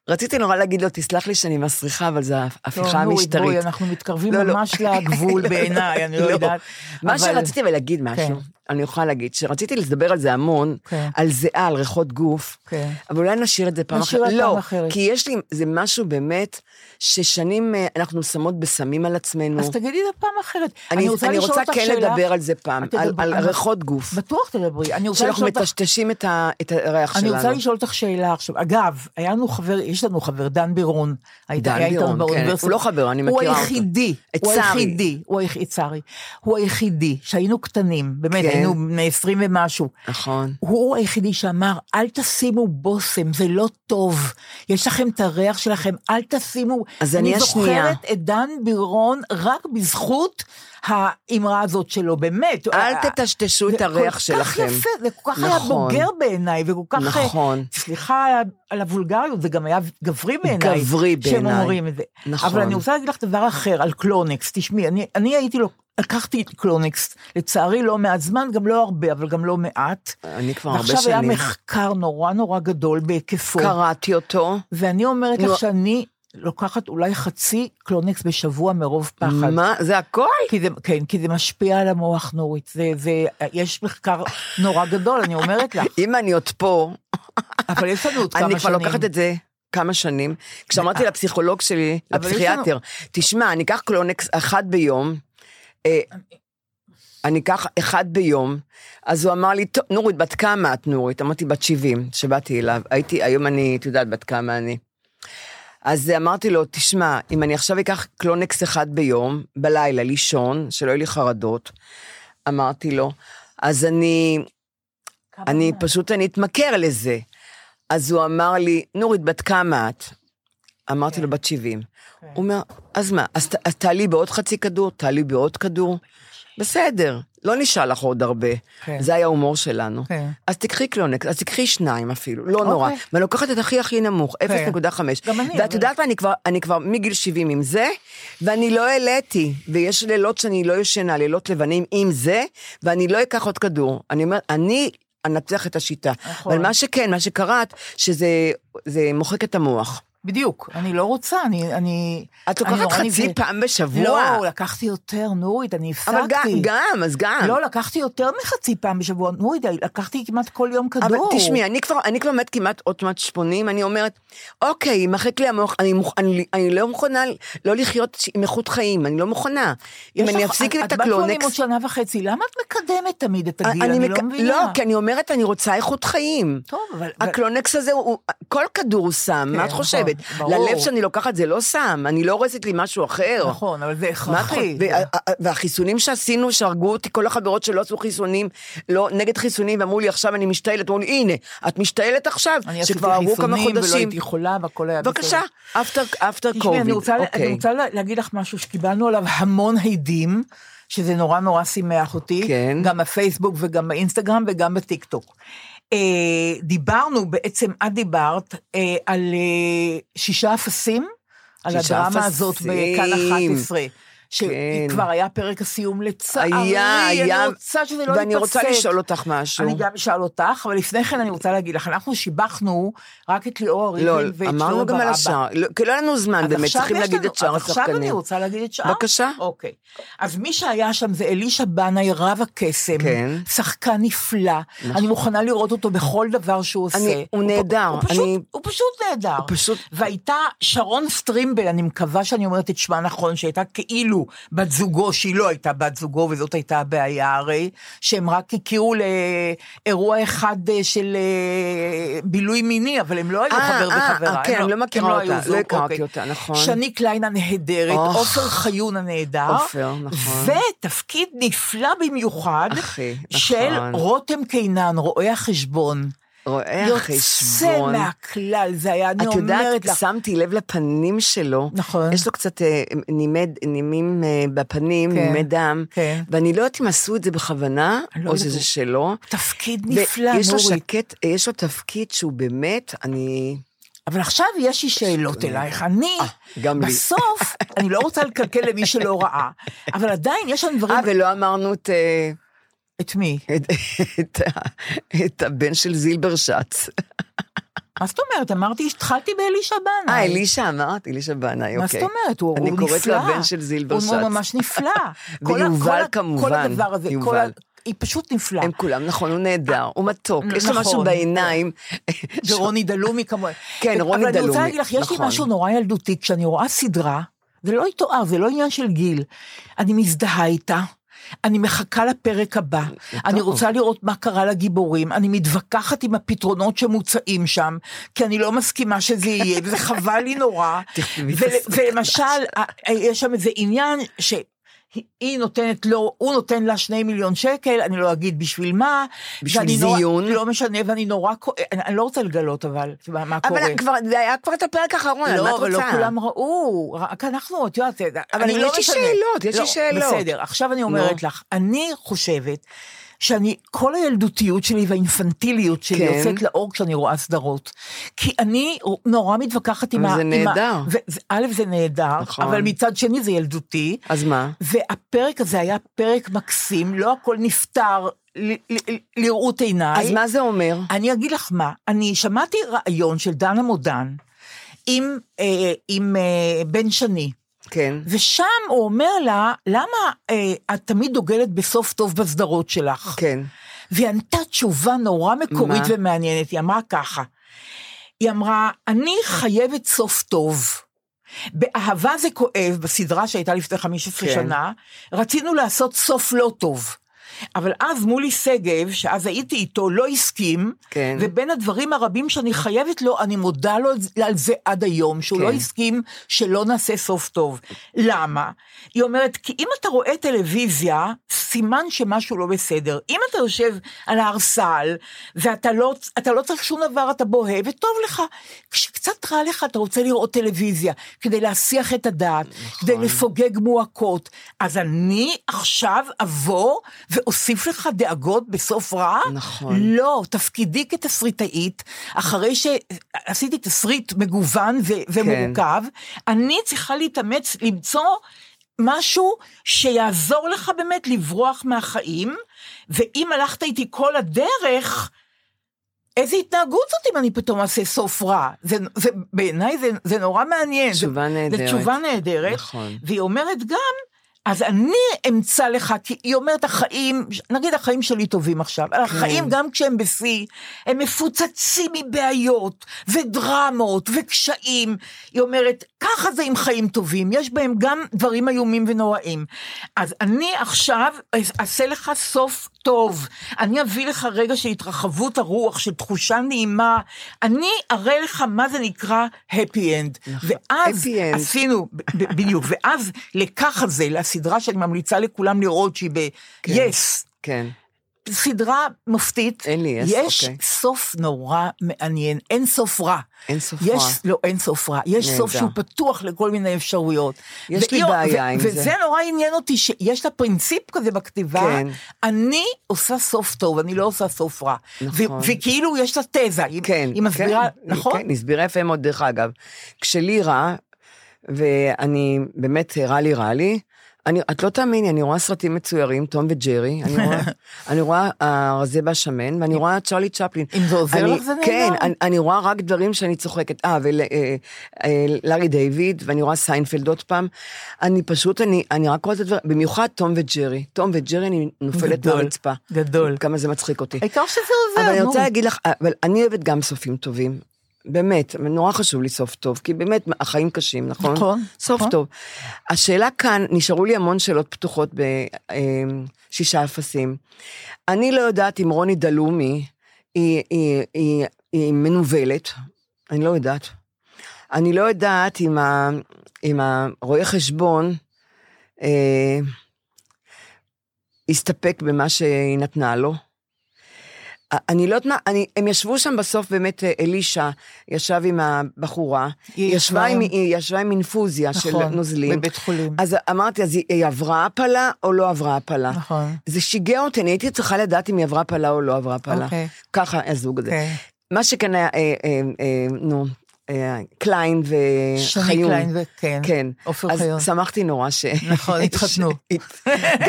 Speaker 4: רציתי נורא להגיד לו, תסלח לי שאני מסריחה, אבל זו
Speaker 3: טוב,
Speaker 4: ההפיכה
Speaker 3: נורית, בואי,
Speaker 4: המשטרית.
Speaker 3: אנחנו מתקרבים
Speaker 4: לא, לא.
Speaker 3: ממש לגבול בעיניי, אני לא
Speaker 4: לא.
Speaker 3: יודעת.
Speaker 4: מה
Speaker 3: אבל-
Speaker 4: שרציתי להגיד משהו,
Speaker 3: כן.
Speaker 4: אני יכולה להגיד, שרציתי לדבר על זה המון,
Speaker 3: כן,
Speaker 4: על זיעה, על ריחות גוף,
Speaker 3: כן.
Speaker 4: אבל אולי נשאיר את זה פעם
Speaker 3: נשאיר
Speaker 4: אחרת.
Speaker 3: את פעם
Speaker 4: לא,
Speaker 3: אחרת.
Speaker 4: כי יש לי, זה משהו באמת, ששנים אה, אנחנו שמות בסמים על עצמנו.
Speaker 3: אז תגידי את זה פעם אחרת.
Speaker 4: אני רוצה, אני
Speaker 3: לשאול
Speaker 4: רוצה
Speaker 3: אותך
Speaker 4: כן
Speaker 3: שאלה-
Speaker 4: לדבר על זה פעם,
Speaker 3: את
Speaker 4: על,
Speaker 3: תדברי-
Speaker 4: על
Speaker 3: אני-
Speaker 4: ריחות גוף,
Speaker 3: בטוח תדברי. אני רוצה
Speaker 4: שאנחנו
Speaker 3: לשאול אותך
Speaker 4: מטשטשים את, ה, את הריח
Speaker 3: אני
Speaker 4: שלנו.
Speaker 3: רוצה לשאול אותך שאלה עכשיו. אגב, היה לנו חבר, יש לנו חבר, דן בירון. היית-
Speaker 4: דן
Speaker 3: היה איתנו
Speaker 4: בירון, כן,
Speaker 3: באוניברסיטה.
Speaker 4: הוא לא חבר, אני
Speaker 3: הוא
Speaker 4: מכירה אותו.
Speaker 3: היחידי,
Speaker 4: את
Speaker 3: הוא
Speaker 4: שרי.
Speaker 3: היחידי, הוא היחידי, צרי. הוא היחידי, שהיינו קטנים, באמת,
Speaker 4: כן.
Speaker 3: היינו בני 20 ומשהו.
Speaker 4: נכון.
Speaker 3: הוא היחידי שאמר, אל תשימו בושם, זה לא טוב. יש לכם את הריח שלכם, אל תשימו...
Speaker 4: אז אני השנייה.
Speaker 3: אני זוכרת את דן בירון רק בזכות האמרה הזאת שלו, באמת.
Speaker 4: אל תטשטשו את
Speaker 3: אה, זה
Speaker 4: הריח
Speaker 3: כל
Speaker 4: שלכם.
Speaker 3: כך יפה, זה כל כך היה
Speaker 4: נכון.
Speaker 3: בוגר בעיניי, וכל כך... אה,
Speaker 4: נכון.
Speaker 3: סליחה על ה- על הוולגריות, זה גם היה גברי בעיניי.
Speaker 4: גברי
Speaker 3: שהם
Speaker 4: בעיניי.
Speaker 3: אומרים את זה.
Speaker 4: נכון.
Speaker 3: אבל אני רוצה להגיד לך דבר אחר על קלונקס. תשמעי, אני, אני הייתי לו, לקחתי את קלונקס, לצערי לא מעט זמן, גם לא הרבה, אבל גם לא מעט.
Speaker 4: אני כבר הרבה
Speaker 3: ועכשיו היה
Speaker 4: שנים
Speaker 3: מחקר נורא נורא גדול בהיקפו.
Speaker 4: קראתי אותו.
Speaker 3: ואני אומרת
Speaker 4: נו.
Speaker 3: לך שאני לוקחת אולי חצי קלונקס בשבוע מרוב פחד.
Speaker 4: מה? זה הכל?
Speaker 3: כי זה, כן, כי זה משפיע על המוח, נורית. זה, זה, יש מחקר נורא גדול, אני אומרת לך.
Speaker 4: אם אני עוד פה,
Speaker 3: אבל יש לנו עוד כמה שנים. אה.
Speaker 4: אני כבר לוקחת את זה. כמה שנים, כשאמרתי לפסיכולוג שלי,
Speaker 3: אבל יש
Speaker 4: לפסיכיאטר, תשמע, אני אקח קלונקס אחת ביום, אה, אני אקח אחד ביום, אז הוא אמר לי, "טוב, נורית, בת כמה את נורית? אמרתי, בת 70, שבאתי אליו, הייתי, היום אני, את יודעת בת כמה אני. אז אמרתי לו, תשמע, אם אני עכשיו אקח קלונקס אחד ביום, בלילה, לישון, שלא יהיו לי חרדות, אמרתי לו, אז אני, אני פשוט, אני אתמכר לזה. אז הוא אמר לי, נורית, בת כמה את? אמרתי
Speaker 3: כן.
Speaker 4: לו, בת 70. הוא אומר, אז מה, אז, ת- אז תעלי בעוד חצי כדור, תעלי בעוד כדור. בסדר, לא נשאל לך עוד הרבה.
Speaker 3: כן.
Speaker 4: זה היה ההומור שלנו.
Speaker 3: כן.
Speaker 4: אז תקחי קלונקס, אז תקחי שניים אפילו, לא
Speaker 3: אוקיי.
Speaker 4: נורא. ואני לוקחת את הכי הכי נמוך,
Speaker 3: כן.
Speaker 4: 0.5.
Speaker 3: גם אני, אבל-
Speaker 4: ואת יודעת מה, אני כבר, אני כבר מגיל 70 עם זה, ואני לא העליתי, ויש לילות שאני לא ישנה, לילות לבנים עם זה, ואני לא אקח עוד כדור. אני אומרת, אני אנצח את השיטה.
Speaker 3: נכון.
Speaker 4: אבל מה שכן, מה שקראת, שזה זה מוחק את המוח.
Speaker 3: בדיוק, אני לא רוצה, אני... אני
Speaker 4: את
Speaker 3: אני
Speaker 4: לוקחת
Speaker 3: נורא
Speaker 4: חצי
Speaker 3: נבהלת.
Speaker 4: פעם בשבוע.
Speaker 3: לא, לקחתי יותר, נורית, אני הפסקתי.
Speaker 4: אבל גם, גם, אז גם.
Speaker 3: לא, לקחתי יותר מחצי פעם בשבוע, נורית, לקחתי כמעט כל יום כדור.
Speaker 4: אבל תשמעי, אני כבר, אני כבר מת כמעט עוד מעט 80, אני אומרת, אוקיי, יימחק לי המוח, אני, מוכ- אני, אני לא מוכנה לא לחיות עם איכות חיים, אני לא מוכנה. אם
Speaker 3: יש
Speaker 4: אני
Speaker 3: לך-
Speaker 4: אפסיק
Speaker 3: את-
Speaker 4: את
Speaker 3: את בת 80 עוד
Speaker 4: הקלונקס...
Speaker 3: שנה וחצי, למה את מקדמת תמיד את הגיל? אני,
Speaker 4: מק-
Speaker 3: לא מבינה.
Speaker 4: לא, כי אני אומרת, אני רוצה איכות חיים.
Speaker 3: טוב, אבל...
Speaker 4: הקלונקס הזה, הוא, כל כדור הוא סם,
Speaker 3: כן,
Speaker 4: מה את
Speaker 3: נכון,
Speaker 4: חושבת?
Speaker 3: ברור.
Speaker 4: ללב שאני לוקחת זה לא סם, אני לא הורסת לי משהו אחר.
Speaker 3: נכון, אבל זה
Speaker 4: לא. מה את
Speaker 3: הכרחי.
Speaker 4: חושבת? וה- והחיסונים שעשינו, שהרגו אותי, כל החברות שלא עשו חיסונים, לא, נגד חיסונים, ואמרו לי, עכשיו אני משתעלת, אמרו לי, הנה, את משתעלת עכשיו,
Speaker 3: אני עשיתי
Speaker 4: שכבר עברו כמה
Speaker 3: חיסונים ולא
Speaker 4: חודשים.
Speaker 3: הייתי חולה והכל היה בסדר.
Speaker 4: בבקשה, after after
Speaker 3: תשמעי, אני
Speaker 4: covid,
Speaker 3: רוצה, אני
Speaker 4: אוקיי.
Speaker 3: רוצה לה- להגיד לך משהו שקיבלנו עליו המון הדים, שזה נורא נורא שימח אותי,
Speaker 4: כן.
Speaker 3: גם בפייסבוק וגם באינסטגרם וגם בטיקטוק. אה, דיברנו בעצם, את דיברת, אה, על אה, שישה אפסים, על
Speaker 4: שישה
Speaker 3: הדרמה הזאת בכאן
Speaker 4: אפסים.
Speaker 3: 11.
Speaker 4: כן.
Speaker 3: שכבר היה פרק הסיום לצערי,
Speaker 4: היה, היה,
Speaker 3: אני רוצה שזה לא ייפסק.
Speaker 4: ואני רוצה לשאול אותך משהו.
Speaker 3: אני גם אשאל אותך, אבל לפני כן אני רוצה להגיד לך, אנחנו שיבחנו רק את ליאור הריבלין
Speaker 4: לא,
Speaker 3: ואת שלמה ברבא.
Speaker 4: אמרנו גם על השאר, לא, כי לא היה לנו זמן
Speaker 3: אז
Speaker 4: באמת,
Speaker 3: עכשיו
Speaker 4: צריכים
Speaker 3: יש
Speaker 4: להגיד
Speaker 3: לנו-
Speaker 4: את שאר
Speaker 3: אז עכשיו אני
Speaker 4: השחקנים.
Speaker 3: רוצה להגיד את שאר?
Speaker 4: בבקשה.
Speaker 3: אוקיי. אז מי שהיה שם זה אלישע בנאי, רב הקסם.
Speaker 4: כן. נכון.
Speaker 3: שחקן נפלא. אני מוכנה לראות אותו בכל דבר שהוא עושה.
Speaker 4: אני- הוא
Speaker 3: פ-
Speaker 4: נהדר,
Speaker 3: הוא פשוט-
Speaker 4: אני-
Speaker 3: הוא פשוט נהדר.
Speaker 4: הוא פשוט-
Speaker 3: והייתה שרון סטרימבל, אני מקווה שאני אומרת את שמה נכון, שהייתה כאילו בת זוגו, שהיא לא הייתה בת זוגו, וזאת הייתה הבעיה הרי, שהם רק הכירו לאירוע אחד אה, של אה, בילוי מיני, אבל הם לא היו
Speaker 4: אה,
Speaker 3: חבר
Speaker 4: אה,
Speaker 3: וחברה.
Speaker 4: אה, כן,
Speaker 3: הם
Speaker 4: אני לא מכירה
Speaker 3: הם
Speaker 4: אותה,
Speaker 3: היו
Speaker 4: לא
Speaker 3: זוג,
Speaker 4: הכרתי
Speaker 3: אוקיי.
Speaker 4: אותה, נכון.
Speaker 3: שני קליין הנהדרת,
Speaker 4: אוח.
Speaker 3: עופר חיון הנהדר.
Speaker 4: עופר, נכון.
Speaker 3: ותפקיד נפלא במיוחד,
Speaker 4: אחי,
Speaker 3: של
Speaker 4: נכון.
Speaker 3: רותם קינן, רואה החשבון.
Speaker 4: רואה
Speaker 3: יוצא
Speaker 4: חשבון.
Speaker 3: מהכלל, זה היה, אני
Speaker 4: את יודעת,
Speaker 3: אומרת לך.
Speaker 4: שמתי לב לפנים שלו.
Speaker 3: נכון.
Speaker 4: יש לו קצת אה, נימד, נימים אה, בפנים,
Speaker 3: כן.
Speaker 4: נימי דם.
Speaker 3: כן.
Speaker 4: ואני לא יודעת אם עשו את זה בכוונה,
Speaker 3: אני לא
Speaker 4: או
Speaker 3: יודעת,
Speaker 4: שזה
Speaker 3: הוא-
Speaker 4: שלו.
Speaker 3: תפקיד נפלא,
Speaker 4: ויש לו
Speaker 3: נורית.
Speaker 4: שקט, אה, יש לו תפקיד שהוא באמת, אני...
Speaker 3: אבל עכשיו יש לי שאלות אלייך. אני,
Speaker 4: אה, גם לי.
Speaker 3: בסוף, אני לא רוצה לקלקל למי שלא ראה, אבל עדיין יש שם
Speaker 4: אה,
Speaker 3: דברים...
Speaker 4: ולא אמרנו את... אה,
Speaker 3: את מי?
Speaker 4: את, את, ה- את הבן של זילברשץ.
Speaker 3: מה זאת אומרת? אמרתי, התחלתי באלישע בנאי.
Speaker 4: אה, אלישע אמרת? אלישע בנאי, אוקיי.
Speaker 3: מה זאת אומרת? הוא הוא נפלא.
Speaker 4: אני קוראת לו הבן של זילברשץ.
Speaker 3: הוא ממש נפלא. כל ה-
Speaker 4: ויובל
Speaker 3: כל ה- כל
Speaker 4: כמובן,
Speaker 3: הדבר הזה,
Speaker 4: יובל.
Speaker 3: כל ה- היא פשוט נפלאה.
Speaker 4: הם כולם, נכון, הוא נהדר, הוא מתוק,
Speaker 3: נ-
Speaker 4: יש לו משהו
Speaker 3: נכון.
Speaker 4: בעיניים.
Speaker 3: ורוני דלומי כמובן.
Speaker 4: כן, רוני
Speaker 3: אבל אני רוצה
Speaker 4: דלומי,
Speaker 3: להגיד לך, יש לי
Speaker 4: נכון.
Speaker 3: משהו נורא ילדותי, כשאני רואה סדרה, זה לא יתואר, זה לא עניין של גיל. אני מזדהה איתה. אני מחכה לפרק הבא, אני רוצה לראות מה קרה לגיבורים, אני מתווכחת עם הפתרונות שמוצעים שם, כי אני לא מסכימה שזה יהיה, וזה חבל לי נורא.
Speaker 4: תכתבי את
Speaker 3: ול-
Speaker 4: הסרט.
Speaker 3: ולמשל, ה- ה- יש שם איזה עניין ש... היא- היא נותנת לו, הוא נותן לה שני מיליון שקל, אני לא אגיד בשביל מה.
Speaker 4: בשביל
Speaker 3: ואני נורא-
Speaker 4: זיון.
Speaker 3: לא משנה, ואני נורא כואב, אני, אני לא רוצה לגלות אבל, מה, מה
Speaker 4: אבל
Speaker 3: קורה.
Speaker 4: כבר, זה היה כבר את הפרק האחרון, על מה את
Speaker 3: לא,
Speaker 4: רוצה?
Speaker 3: אבל לא כולם ראו, רק אנחנו, את יודעת,
Speaker 4: אבל
Speaker 3: אני לא
Speaker 4: יש לי
Speaker 3: משנה.
Speaker 4: שאלות, יש לי
Speaker 3: לא,
Speaker 4: שאלות. לא.
Speaker 3: בסדר, עכשיו אני אומרת לך, אני חושבת שאני, כל הילדותיות שלי והאינפנטיליות שלי
Speaker 4: כן.
Speaker 3: יוצאת לאור כשאני רואה סדרות. כי אני נורא מתווכחת עם
Speaker 4: אבל
Speaker 3: ה...
Speaker 4: זה
Speaker 3: עם
Speaker 4: נהדר.
Speaker 3: ה- ו- זה- א', זה נהדר,
Speaker 4: נכון.
Speaker 3: אבל מצד שני זה ילדותי.
Speaker 4: אז מה?
Speaker 3: והפרק הזה היה פרק מקסים, לא הכל נפתר ל- ל- ל- לראות עיניי.
Speaker 4: אז מה זה אומר?
Speaker 3: אני אגיד לך מה, אני שמעתי ראיון של דנה מודן עם, אה, עם אה, בן שני,
Speaker 4: כן.
Speaker 3: ושם הוא אומר לה, למה אה, את תמיד דוגלת בסוף טוב בסדרות שלך?
Speaker 4: כן.
Speaker 3: והיא ענתה תשובה נורא מקורית
Speaker 4: מה?
Speaker 3: ומעניינת, היא אמרה ככה, היא אמרה, אני חייבת סוף טוב. באהבה זה כואב, בסדרה שהייתה לפני 15
Speaker 4: כן.
Speaker 3: כן. שנה, רצינו לעשות סוף לא טוב. אבל אז מולי שגב, שאז הייתי איתו, לא הסכים,
Speaker 4: כן.
Speaker 3: ובין הדברים הרבים שאני חייבת לו, אני מודה לו על זה עד היום, שהוא
Speaker 4: כן.
Speaker 3: כן. לא הסכים שלא נעשה סוף טוב. למה? היא אומרת, כי אם אתה רואה טלוויזיה, סימן שמשהו לא בסדר. אם אתה יושב על ההרסל, ואתה לא, אתה לא צריך שום דבר, אתה בוהה, וטוב לך. כשקצת רע לך, אתה רוצה לראות טלוויזיה, כדי להסיח את הדעת, נכון. כדי לפוגג מועקות. אז אני עכשיו אבוא ואוסיף לך דאגות בסוף רע?
Speaker 4: נכון.
Speaker 3: לא, תפקידי כתסריטאית, אחרי שעשיתי תסריט מגוון ו- ומורכב,
Speaker 4: כן.
Speaker 3: אני צריכה להתאמץ למצוא משהו שיעזור לך באמת לברוח מהחיים, ואם הלכת איתי כל הדרך, איזה התנהגות זאת אם אני פתאום אעשה סוף רע? זה, זה, בעיניי זה, זה נורא מעניין.
Speaker 4: תשובה
Speaker 3: זו
Speaker 4: נהדרת.
Speaker 3: תשובה נהדרת.
Speaker 4: נכון.
Speaker 3: והיא אומרת גם, אז אני אמצא לך, כי היא אומרת, החיים, נגיד החיים שלי טובים עכשיו, אבל החיים גם כשהם בשיא, הם מפוצצים מבעיות ודרמות וקשיים. היא אומרת, ככה זה עם חיים טובים, יש בהם גם דברים איומים ונוראים. אז אני עכשיו אעשה לך סוף טוב, אני אביא לך רגע של התרחבות הרוח, של תחושה נעימה, אני אראה לך מה זה נקרא happy end. ואז
Speaker 4: happy end.
Speaker 3: עשיתי... עשינו, ב- ב- בדיוק, ואז לקח הזה, לסדרה שאני ממליצה לכולם לראות, שהיא ב-yes,
Speaker 4: כן.
Speaker 3: סדרה מופתית.
Speaker 4: אין לי, יש,
Speaker 3: יש
Speaker 4: אוקיי.
Speaker 3: סוף נורא מעניין, אין סוף רע.
Speaker 4: אין סוף
Speaker 3: יש,
Speaker 4: רע.
Speaker 3: לא, אין סוף רע. יש
Speaker 4: נהדר.
Speaker 3: סוף שהוא פתוח לכל מיני אפשרויות.
Speaker 4: יש לי
Speaker 3: ואי-
Speaker 4: בעיה עם זה.
Speaker 3: וזה נורא עניין אותי, שיש לה פרינציפ כזה בכתיבה,
Speaker 4: כן.
Speaker 3: אני עושה סוף טוב, אני לא עושה סוף רע.
Speaker 4: נכון.
Speaker 3: ו- וכאילו יש לה תזה, היא,
Speaker 4: כן.
Speaker 3: היא מסבירה,
Speaker 4: כן,
Speaker 3: נכון?
Speaker 4: כן, היא הסבירה יפה מאוד, דרך אגב. כשלי רע, ואני, באמת, רע לי, רע לי, אני, את לא תאמיני, אני רואה סרטים מצוירים, תום וג'רי, אני רואה, אני רואה הרזה והשמן, ואני רואה צ'רלי צ'פלין.
Speaker 3: אם זה עוזר
Speaker 4: אני-
Speaker 3: לך, זה
Speaker 4: כן,
Speaker 3: נהדר.
Speaker 4: אני, אני רואה רק דברים שאני צוחקת. אה, ולארי דיוויד, ואני רואה סיינפלד עוד פעם. אני פשוט, אני, אני רק רואה את הדברים, במיוחד תום וג'רי. תום וג'רי, אני נופלת
Speaker 3: גדול,
Speaker 4: מהרצפה.
Speaker 3: גדול.
Speaker 4: כמה זה מצחיק אותי.
Speaker 3: העיקר שזה עוזר,
Speaker 4: אבל אני
Speaker 3: נו.
Speaker 4: רוצה להגיד לך, אבל אני אוהבת גם סופים טובים. באמת, אבל נורא חשוב לי סוף טוב, כי באמת, החיים קשים, נכון?
Speaker 3: נכון,
Speaker 4: סוף
Speaker 3: נכון.
Speaker 4: טוב. השאלה כאן, נשארו לי המון שאלות פתוחות בשישה אפסים. אני לא יודעת אם רוני דלומי היא, היא, היא, היא מנוולת, אני לא יודעת. אני לא יודעת אם, ה, אם הרואה חשבון אה, הסתפק במה שהיא נתנה לו. אני לא יודעת מה, אני, הם ישבו שם בסוף באמת, אה, אלישע ישב עם הבחורה,
Speaker 3: היא
Speaker 4: היא ישבה עם,
Speaker 3: ישבה
Speaker 4: היא ישבה עם אינפוזיה של
Speaker 3: נכון,
Speaker 4: נוזלים.
Speaker 3: בבית חולים.
Speaker 4: אז אמרתי, אז היא, היא עברה הפלה או לא עברה הפלה?
Speaker 3: נכון.
Speaker 4: זה שיגע אותי, אני הייתי צריכה לדעת אם היא עברה הפלה או לא עברה הפלה.
Speaker 3: אוקיי.
Speaker 4: ככה הזוג הזה.
Speaker 3: אוקיי.
Speaker 4: מה שכן היה, אה, אה, אה, נו, אה, קליין
Speaker 3: שני
Speaker 4: וחיון.
Speaker 3: קליין וכן,
Speaker 4: אה, כן.
Speaker 3: עופר
Speaker 4: אז
Speaker 3: חיון.
Speaker 4: שמחתי נורא ש...
Speaker 3: נכון, התחתנו.
Speaker 4: ש-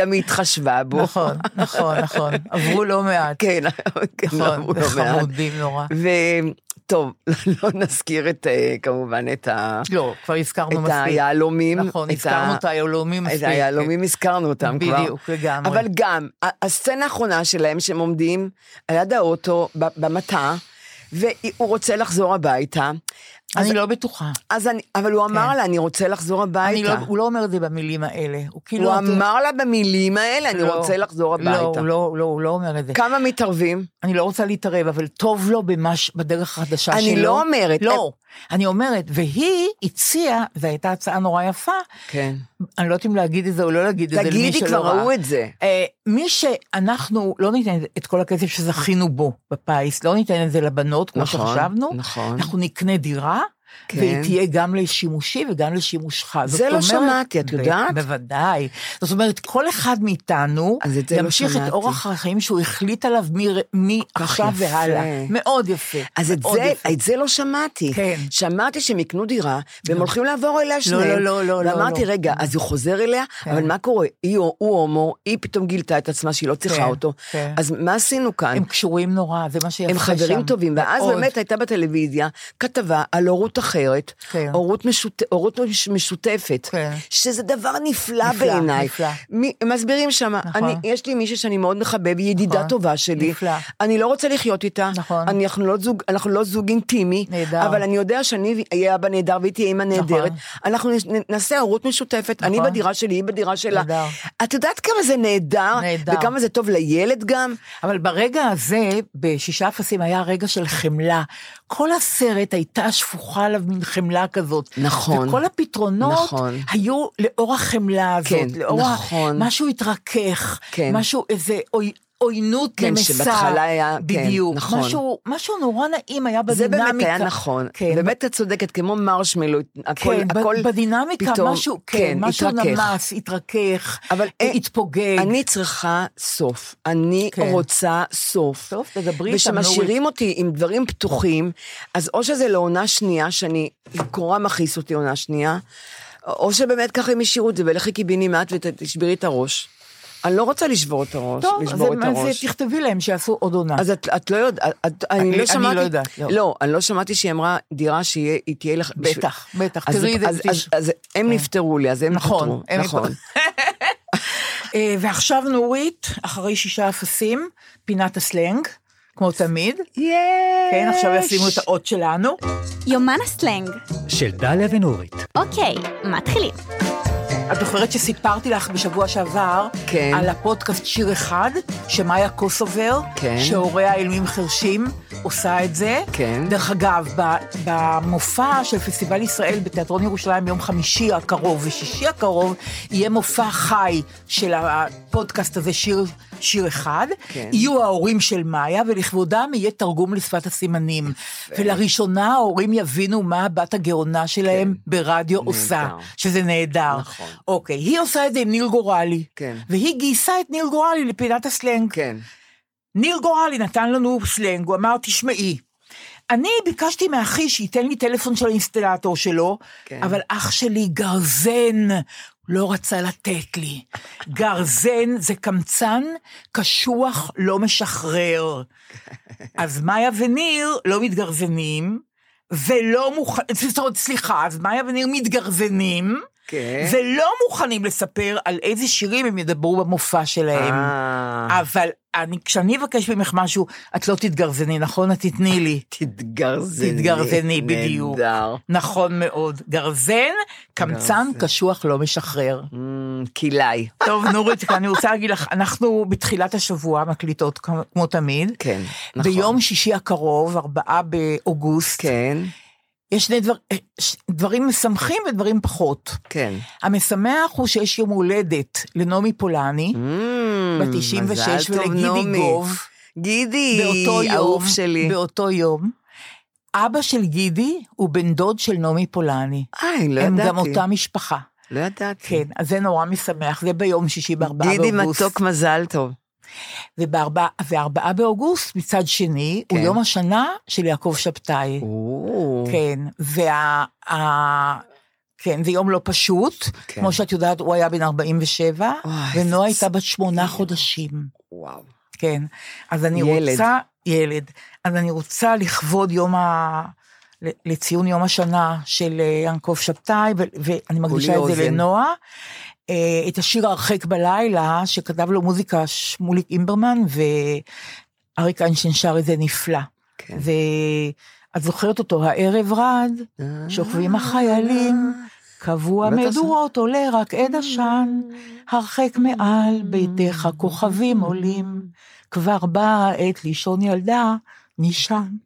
Speaker 4: גם היא התחשבה בו.
Speaker 3: נכון, נכון, נכון. עברו לא מעט.
Speaker 4: כן, כן, אמרו
Speaker 3: נכון,
Speaker 4: לא מעט.
Speaker 3: חמודים נורא.
Speaker 4: וטוב, לא נזכיר את, אה, כמובן, את ה...
Speaker 3: לא, כבר הזכרנו
Speaker 4: את
Speaker 3: מספיק.
Speaker 4: היהלומים.
Speaker 3: נכון, הזכרנו את היהלומים
Speaker 4: את
Speaker 3: מספיק.
Speaker 4: היהלומים הזכרנו אותם כבר.
Speaker 3: בדיוק, לגמרי.
Speaker 4: אבל גם, ה- הסצנה האחרונה שלהם, שהם עומדים על יד האוטו, ב- במטע, והוא רוצה לחזור הביתה. אז-
Speaker 3: אני לא בטוחה.
Speaker 4: אז אני, אבל הוא אמר
Speaker 3: כן.
Speaker 4: לה, אני רוצה לחזור
Speaker 3: אני לא,
Speaker 4: הביתה.
Speaker 3: הוא לא אומר את זה במילים האלה. הוא כאילו...
Speaker 4: הוא
Speaker 3: אתה-
Speaker 4: אמר לה במילים האלה, אני
Speaker 3: לא.
Speaker 4: רוצה לחזור
Speaker 3: לא, הוא לא,
Speaker 4: הביתה.
Speaker 3: הוא לא, הוא לא אומר את זה.
Speaker 4: כמה מתערבים?
Speaker 3: אני לא רוצה להתערב, אבל טוב לו במש, בדרך החדשה
Speaker 4: אני
Speaker 3: שלו.
Speaker 4: לא אומרת,
Speaker 3: לא, אני אומרת, והיא הציעה, זו הייתה הצעה נורא יפה,
Speaker 4: כן.
Speaker 3: אני לא יודעת אם להגיד את זה או לא להגיד את זה למי
Speaker 4: תגידי,
Speaker 3: שלא
Speaker 4: כבר
Speaker 3: ראה.
Speaker 4: ראו את זה.
Speaker 3: אה, מי שאנחנו לא ניתן את כל הכסף שזכינו בו בפיס, לא ניתן את זה לבנות כמו
Speaker 4: נכון,
Speaker 3: שחשבנו,
Speaker 4: נכון.
Speaker 3: אנחנו נקנה דירה,
Speaker 4: כן.
Speaker 3: והיא תהיה גם לשימושי וגם לשימושך. זאת
Speaker 4: זה לא
Speaker 3: אומרת-
Speaker 4: שמעתי, את
Speaker 3: ב-
Speaker 4: יודעת?
Speaker 3: בוודאי. זאת אומרת, כל אחד מאיתנו
Speaker 4: אז את זה לא
Speaker 3: ימשיך את
Speaker 4: שמעתי.
Speaker 3: אורח החיים שהוא החליט עליו מ- מעכשיו
Speaker 4: יפה.
Speaker 3: והלאה. מאוד יפה.
Speaker 4: אז את
Speaker 3: מאוד
Speaker 4: זה,
Speaker 3: יפה.
Speaker 4: את זה לא שמעתי.
Speaker 3: כן.
Speaker 4: שמעתי שהם יקנו דירה, והם הולכים לעבור אליה שניהם.
Speaker 3: לא, לא, לא,
Speaker 4: ואמרתי,
Speaker 3: לא.
Speaker 4: רגע, אז הוא חוזר אליה,
Speaker 3: כן.
Speaker 4: אבל מה קורה? היא או- הוא הומו, היא פתאום גילתה את עצמה שהיא לא צריכה
Speaker 3: כן,
Speaker 4: אותו.
Speaker 3: כן.
Speaker 4: אז מה עשינו כאן?
Speaker 3: הם קשורים נורא, זה מה שיפה שם.
Speaker 4: הם חברים טובים, ואז
Speaker 3: מאוד.
Speaker 4: באמת הייתה בטלוויזיה כתבה על הורות אחרת,
Speaker 3: כן.
Speaker 4: הורות משות- הורות מש- משותפת,
Speaker 3: כן.
Speaker 4: שזה דבר נפלא
Speaker 3: נפלא,
Speaker 4: בעיניי.
Speaker 3: נפלא.
Speaker 4: מי- מסבירים שם,
Speaker 3: נכון.
Speaker 4: אני- יש לי מישהי שאני מאוד מחבב, היא ידידה
Speaker 3: נכון.
Speaker 4: טובה שלי,
Speaker 3: נפלא.
Speaker 4: אני לא רוצה לחיות איתה,
Speaker 3: נכון.
Speaker 4: אני- אנחנו לא זוג- אנחנו לא זוג אינטימי,
Speaker 3: נהדר.
Speaker 4: אבל אני יודע שאני אהיה אבא נהדר והיא תהיה אימא נהדרת, אנחנו נ- נ- נעשה הורות משותפת, אני
Speaker 3: נכון.
Speaker 4: בדירה שלי, היא בדירה שלה.
Speaker 3: נהדר.
Speaker 4: את יודעת כמה זה נהדר,
Speaker 3: נהדר.
Speaker 4: וכמה זה טוב לילד גם?
Speaker 3: אבל ברגע הזה, בשישה אפסים, היה רגע של חמלה. כל הסרט הייתה שפוכה עליו מין חמלה כזאת.
Speaker 4: נכון.
Speaker 3: וכל הפתרונות
Speaker 4: נכון.
Speaker 3: היו לאור החמלה הזאת.
Speaker 4: כן,
Speaker 3: לאור ה-
Speaker 4: נכון.
Speaker 3: משהו התרכך,
Speaker 4: כן.
Speaker 3: משהו, איזה אוי... עוינות
Speaker 4: כן,
Speaker 3: למסע.
Speaker 4: שבהתחלה היה- כן,
Speaker 3: בדיוק,
Speaker 4: נכון.
Speaker 3: משהו, משהו נורא נעים היה
Speaker 4: זה
Speaker 3: בדינמיקה.
Speaker 4: באמת היה נכון.
Speaker 3: כן,
Speaker 4: באמת את צודקת, כמו מרשמלו, הכל,
Speaker 3: כן, ב-
Speaker 4: הכל
Speaker 3: בדינמיקה
Speaker 4: פתאום,
Speaker 3: משהו, כן, משהו נמס, התרכך,
Speaker 4: אבל אין-
Speaker 3: התפוגג.
Speaker 4: אני צריכה סוף, אני
Speaker 3: כן.
Speaker 4: רוצה סוף.
Speaker 3: טוב, תדברי איתם, נורית.
Speaker 4: ושמשאירים אותי עם דברים פתוחים, אז או שזה לעונה שנייה, שאני, קורה מכעיס אותי עונה שנייה, או שבאמת ככה הם השאירו את זה, ולכי קיבינימט ותשברי את הראש. אני לא רוצה לשבור את הראש,
Speaker 3: טוב, אז
Speaker 4: לשבור את
Speaker 3: אז
Speaker 4: הראש.
Speaker 3: תכתבי להם שיעשו עוד עונה.
Speaker 4: אז את, את לא יודעת, את- אני,
Speaker 3: אני-
Speaker 4: לא
Speaker 3: אני
Speaker 4: שמעתי,
Speaker 3: לא יודעת, לא.
Speaker 4: לא, אני לא שמעתי שהיא אמרה דירה שהיא תהיה לך,
Speaker 3: בטח, בטח,
Speaker 4: אז-
Speaker 3: תראי את זה,
Speaker 4: אז,
Speaker 3: תש-
Speaker 4: אז, אז הם נפטרו לי, אז הם
Speaker 3: נכון,
Speaker 4: פטרו,
Speaker 3: הם
Speaker 4: נכון,
Speaker 3: אה, ועכשיו נורית, אחרי שישה אפסים, פינת הסלנג, כמו תמיד. יש! כן, עכשיו ישימו את האות שלנו.
Speaker 5: יומן הסלנג.
Speaker 6: של דליה ונורית.
Speaker 5: אוקיי, מתחילים.
Speaker 3: את זוכרת שסיפרתי לך בשבוע שעבר,
Speaker 4: כן.
Speaker 3: על הפודקאסט שיר אחד, שמאיה קוסובר,
Speaker 4: כן.
Speaker 3: שהוריה אלמים חרשים, עושה את זה.
Speaker 4: כן.
Speaker 3: דרך אגב, ב- במופע של פסטיבל ישראל בתיאטרון ירושלים ביום חמישי הקרוב ושישי הקרוב, יהיה מופע חי של הפודקאסט הזה, שיר, שיר אחד.
Speaker 4: כן.
Speaker 3: יהיו ההורים של מאיה, ולכבודם יהיה תרגום לשפת הסימנים. ולראשונה ההורים יבינו מה הבת הגאונה שלהם
Speaker 4: כן.
Speaker 3: ברדיו עושה, שזה נהדר.
Speaker 4: נכון.
Speaker 3: אוקיי, היא עושה את זה עם ניל גורלי.
Speaker 4: כן.
Speaker 3: והיא גייסה את ניל גורלי לפינת הסלנג.
Speaker 4: כן,
Speaker 3: ניר גורלי נתן לנו סלנג, הוא אמר, תשמעי, אני ביקשתי מאחי שייתן לי טלפון של האינסטלטור שלו,
Speaker 4: כן.
Speaker 3: כן. אבל אח שלי גרזן לא רצה לתת לי. גרזן זה קמצן, קשוח, לא משחרר. אז מאיה וניר לא מתגרזנים, ולא מוכנים, סליחה, אז מאיה וניר מתגרזנים,
Speaker 4: כן.
Speaker 3: ולא לא מוכנים לספר על איזה שירים הם ידברו במופע שלהם.
Speaker 4: אה,
Speaker 3: אבל אני, כשאני אבקש ממך משהו, את לא תתגרזני, נכון? את תתני לי.
Speaker 4: תתגרזני.
Speaker 3: תתגרזני, בדיוק.
Speaker 4: נהדר.
Speaker 3: נכון מאוד. גרזן, קמצן, קשוח, לא משחרר.
Speaker 4: אמ, כלאי.
Speaker 3: טוב, נורית, אני רוצה להגיד לך, אנחנו בתחילת השבוע מקליטות כמו- כמו תמיד.
Speaker 4: כן, נכון.
Speaker 3: ביום שישי הקרוב, 4 באוגוסט,
Speaker 4: כן,
Speaker 3: יש שני דבר, אה, ש- דברים משמחים ודברים פחות.
Speaker 4: כן.
Speaker 3: המשמח הוא שיש יום הולדת לנעמי פולני,
Speaker 4: אמ,
Speaker 3: בת 96,
Speaker 4: מזל טוב,
Speaker 3: ולגידי
Speaker 4: נעמי.
Speaker 3: גוב.
Speaker 4: גידי,
Speaker 3: באותו יום,
Speaker 4: אהוב שלי.
Speaker 3: באותו יום, אבא של גידי הוא בן דוד של נעמי פולני.
Speaker 4: איי, לא
Speaker 3: הם
Speaker 4: ידעתי.
Speaker 3: גם אותה משפחה.
Speaker 4: לא ידעתי.
Speaker 3: כן, אז זה נורא משמח, זה ביום שישי בארבעה
Speaker 4: גידי
Speaker 3: באוגוסט.
Speaker 4: מתוק, מזל טוב.
Speaker 3: ובארבעה, וארבעה באוגוסט מצד שני,
Speaker 4: כן.
Speaker 3: הוא יום השנה של יעקב שבתאי.
Speaker 4: או,
Speaker 3: כן, וה... ה- כן, זה יום לא פשוט.
Speaker 4: כן.
Speaker 3: כמו שאת יודעת, הוא היה בן 47,
Speaker 4: אוי,
Speaker 3: ונועה
Speaker 4: איזה
Speaker 3: הייתה בת שמונה חודשים.
Speaker 4: וואו.
Speaker 3: כן. אז אני
Speaker 4: ילד.
Speaker 3: ילד. רוצה, ילד, אז אני רוצה לכבוד יום ה... לציון יום השנה של אה, יעקב שבתאי, ו- ואני מקדישה את
Speaker 4: אוזן.
Speaker 3: זה לנועה. אה, את השיר הרחק בלילה, שכתב לו מוזיקה שמוליק אימברמן, ואריק איינשטיין שר את זה נפלא.
Speaker 4: כן.
Speaker 3: ואת זוכרת אותו, הערב רד, שוכבים החיילים, קבוע
Speaker 4: בטח.
Speaker 3: מדורות עולה רק עד עשן, הרחק מעל ביתך כוכבים עולים, כבר באה העת לישון ילדה, נישן.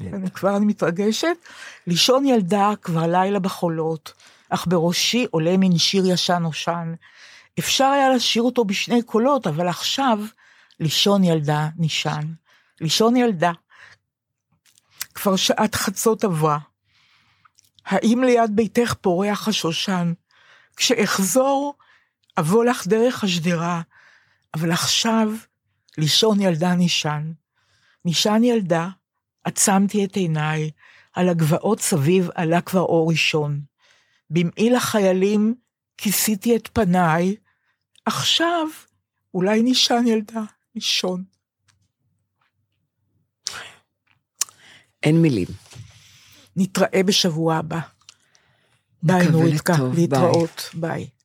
Speaker 3: אני כבר אני מתרגשת. לישון ילדה כבר לילה בחולות, אך בראשי עולה מין שיר ישן נושן. אפשר היה לשיר אותו בשני קולות, אבל עכשיו לישון ילדה נשען. לישון ילדה. כבר שעת חצות עברה. האם ליד ביתך פורח השושן? כשאחזור, אבוא לך דרך השדרה, אבל עכשיו לישון ילדה נשען. נשען ילדה, עצמתי את עיניי, על הגבעות סביב עלה כבר אור ראשון. במעי לחיילים כיסיתי את פניי, עכשיו אולי נשען ילדה לישון.
Speaker 4: אין מילים.
Speaker 3: נתראה בשבוע הבא. ביי
Speaker 4: מקווה
Speaker 3: נורית,
Speaker 4: לטוב, ביי.
Speaker 3: להתראות, ביי.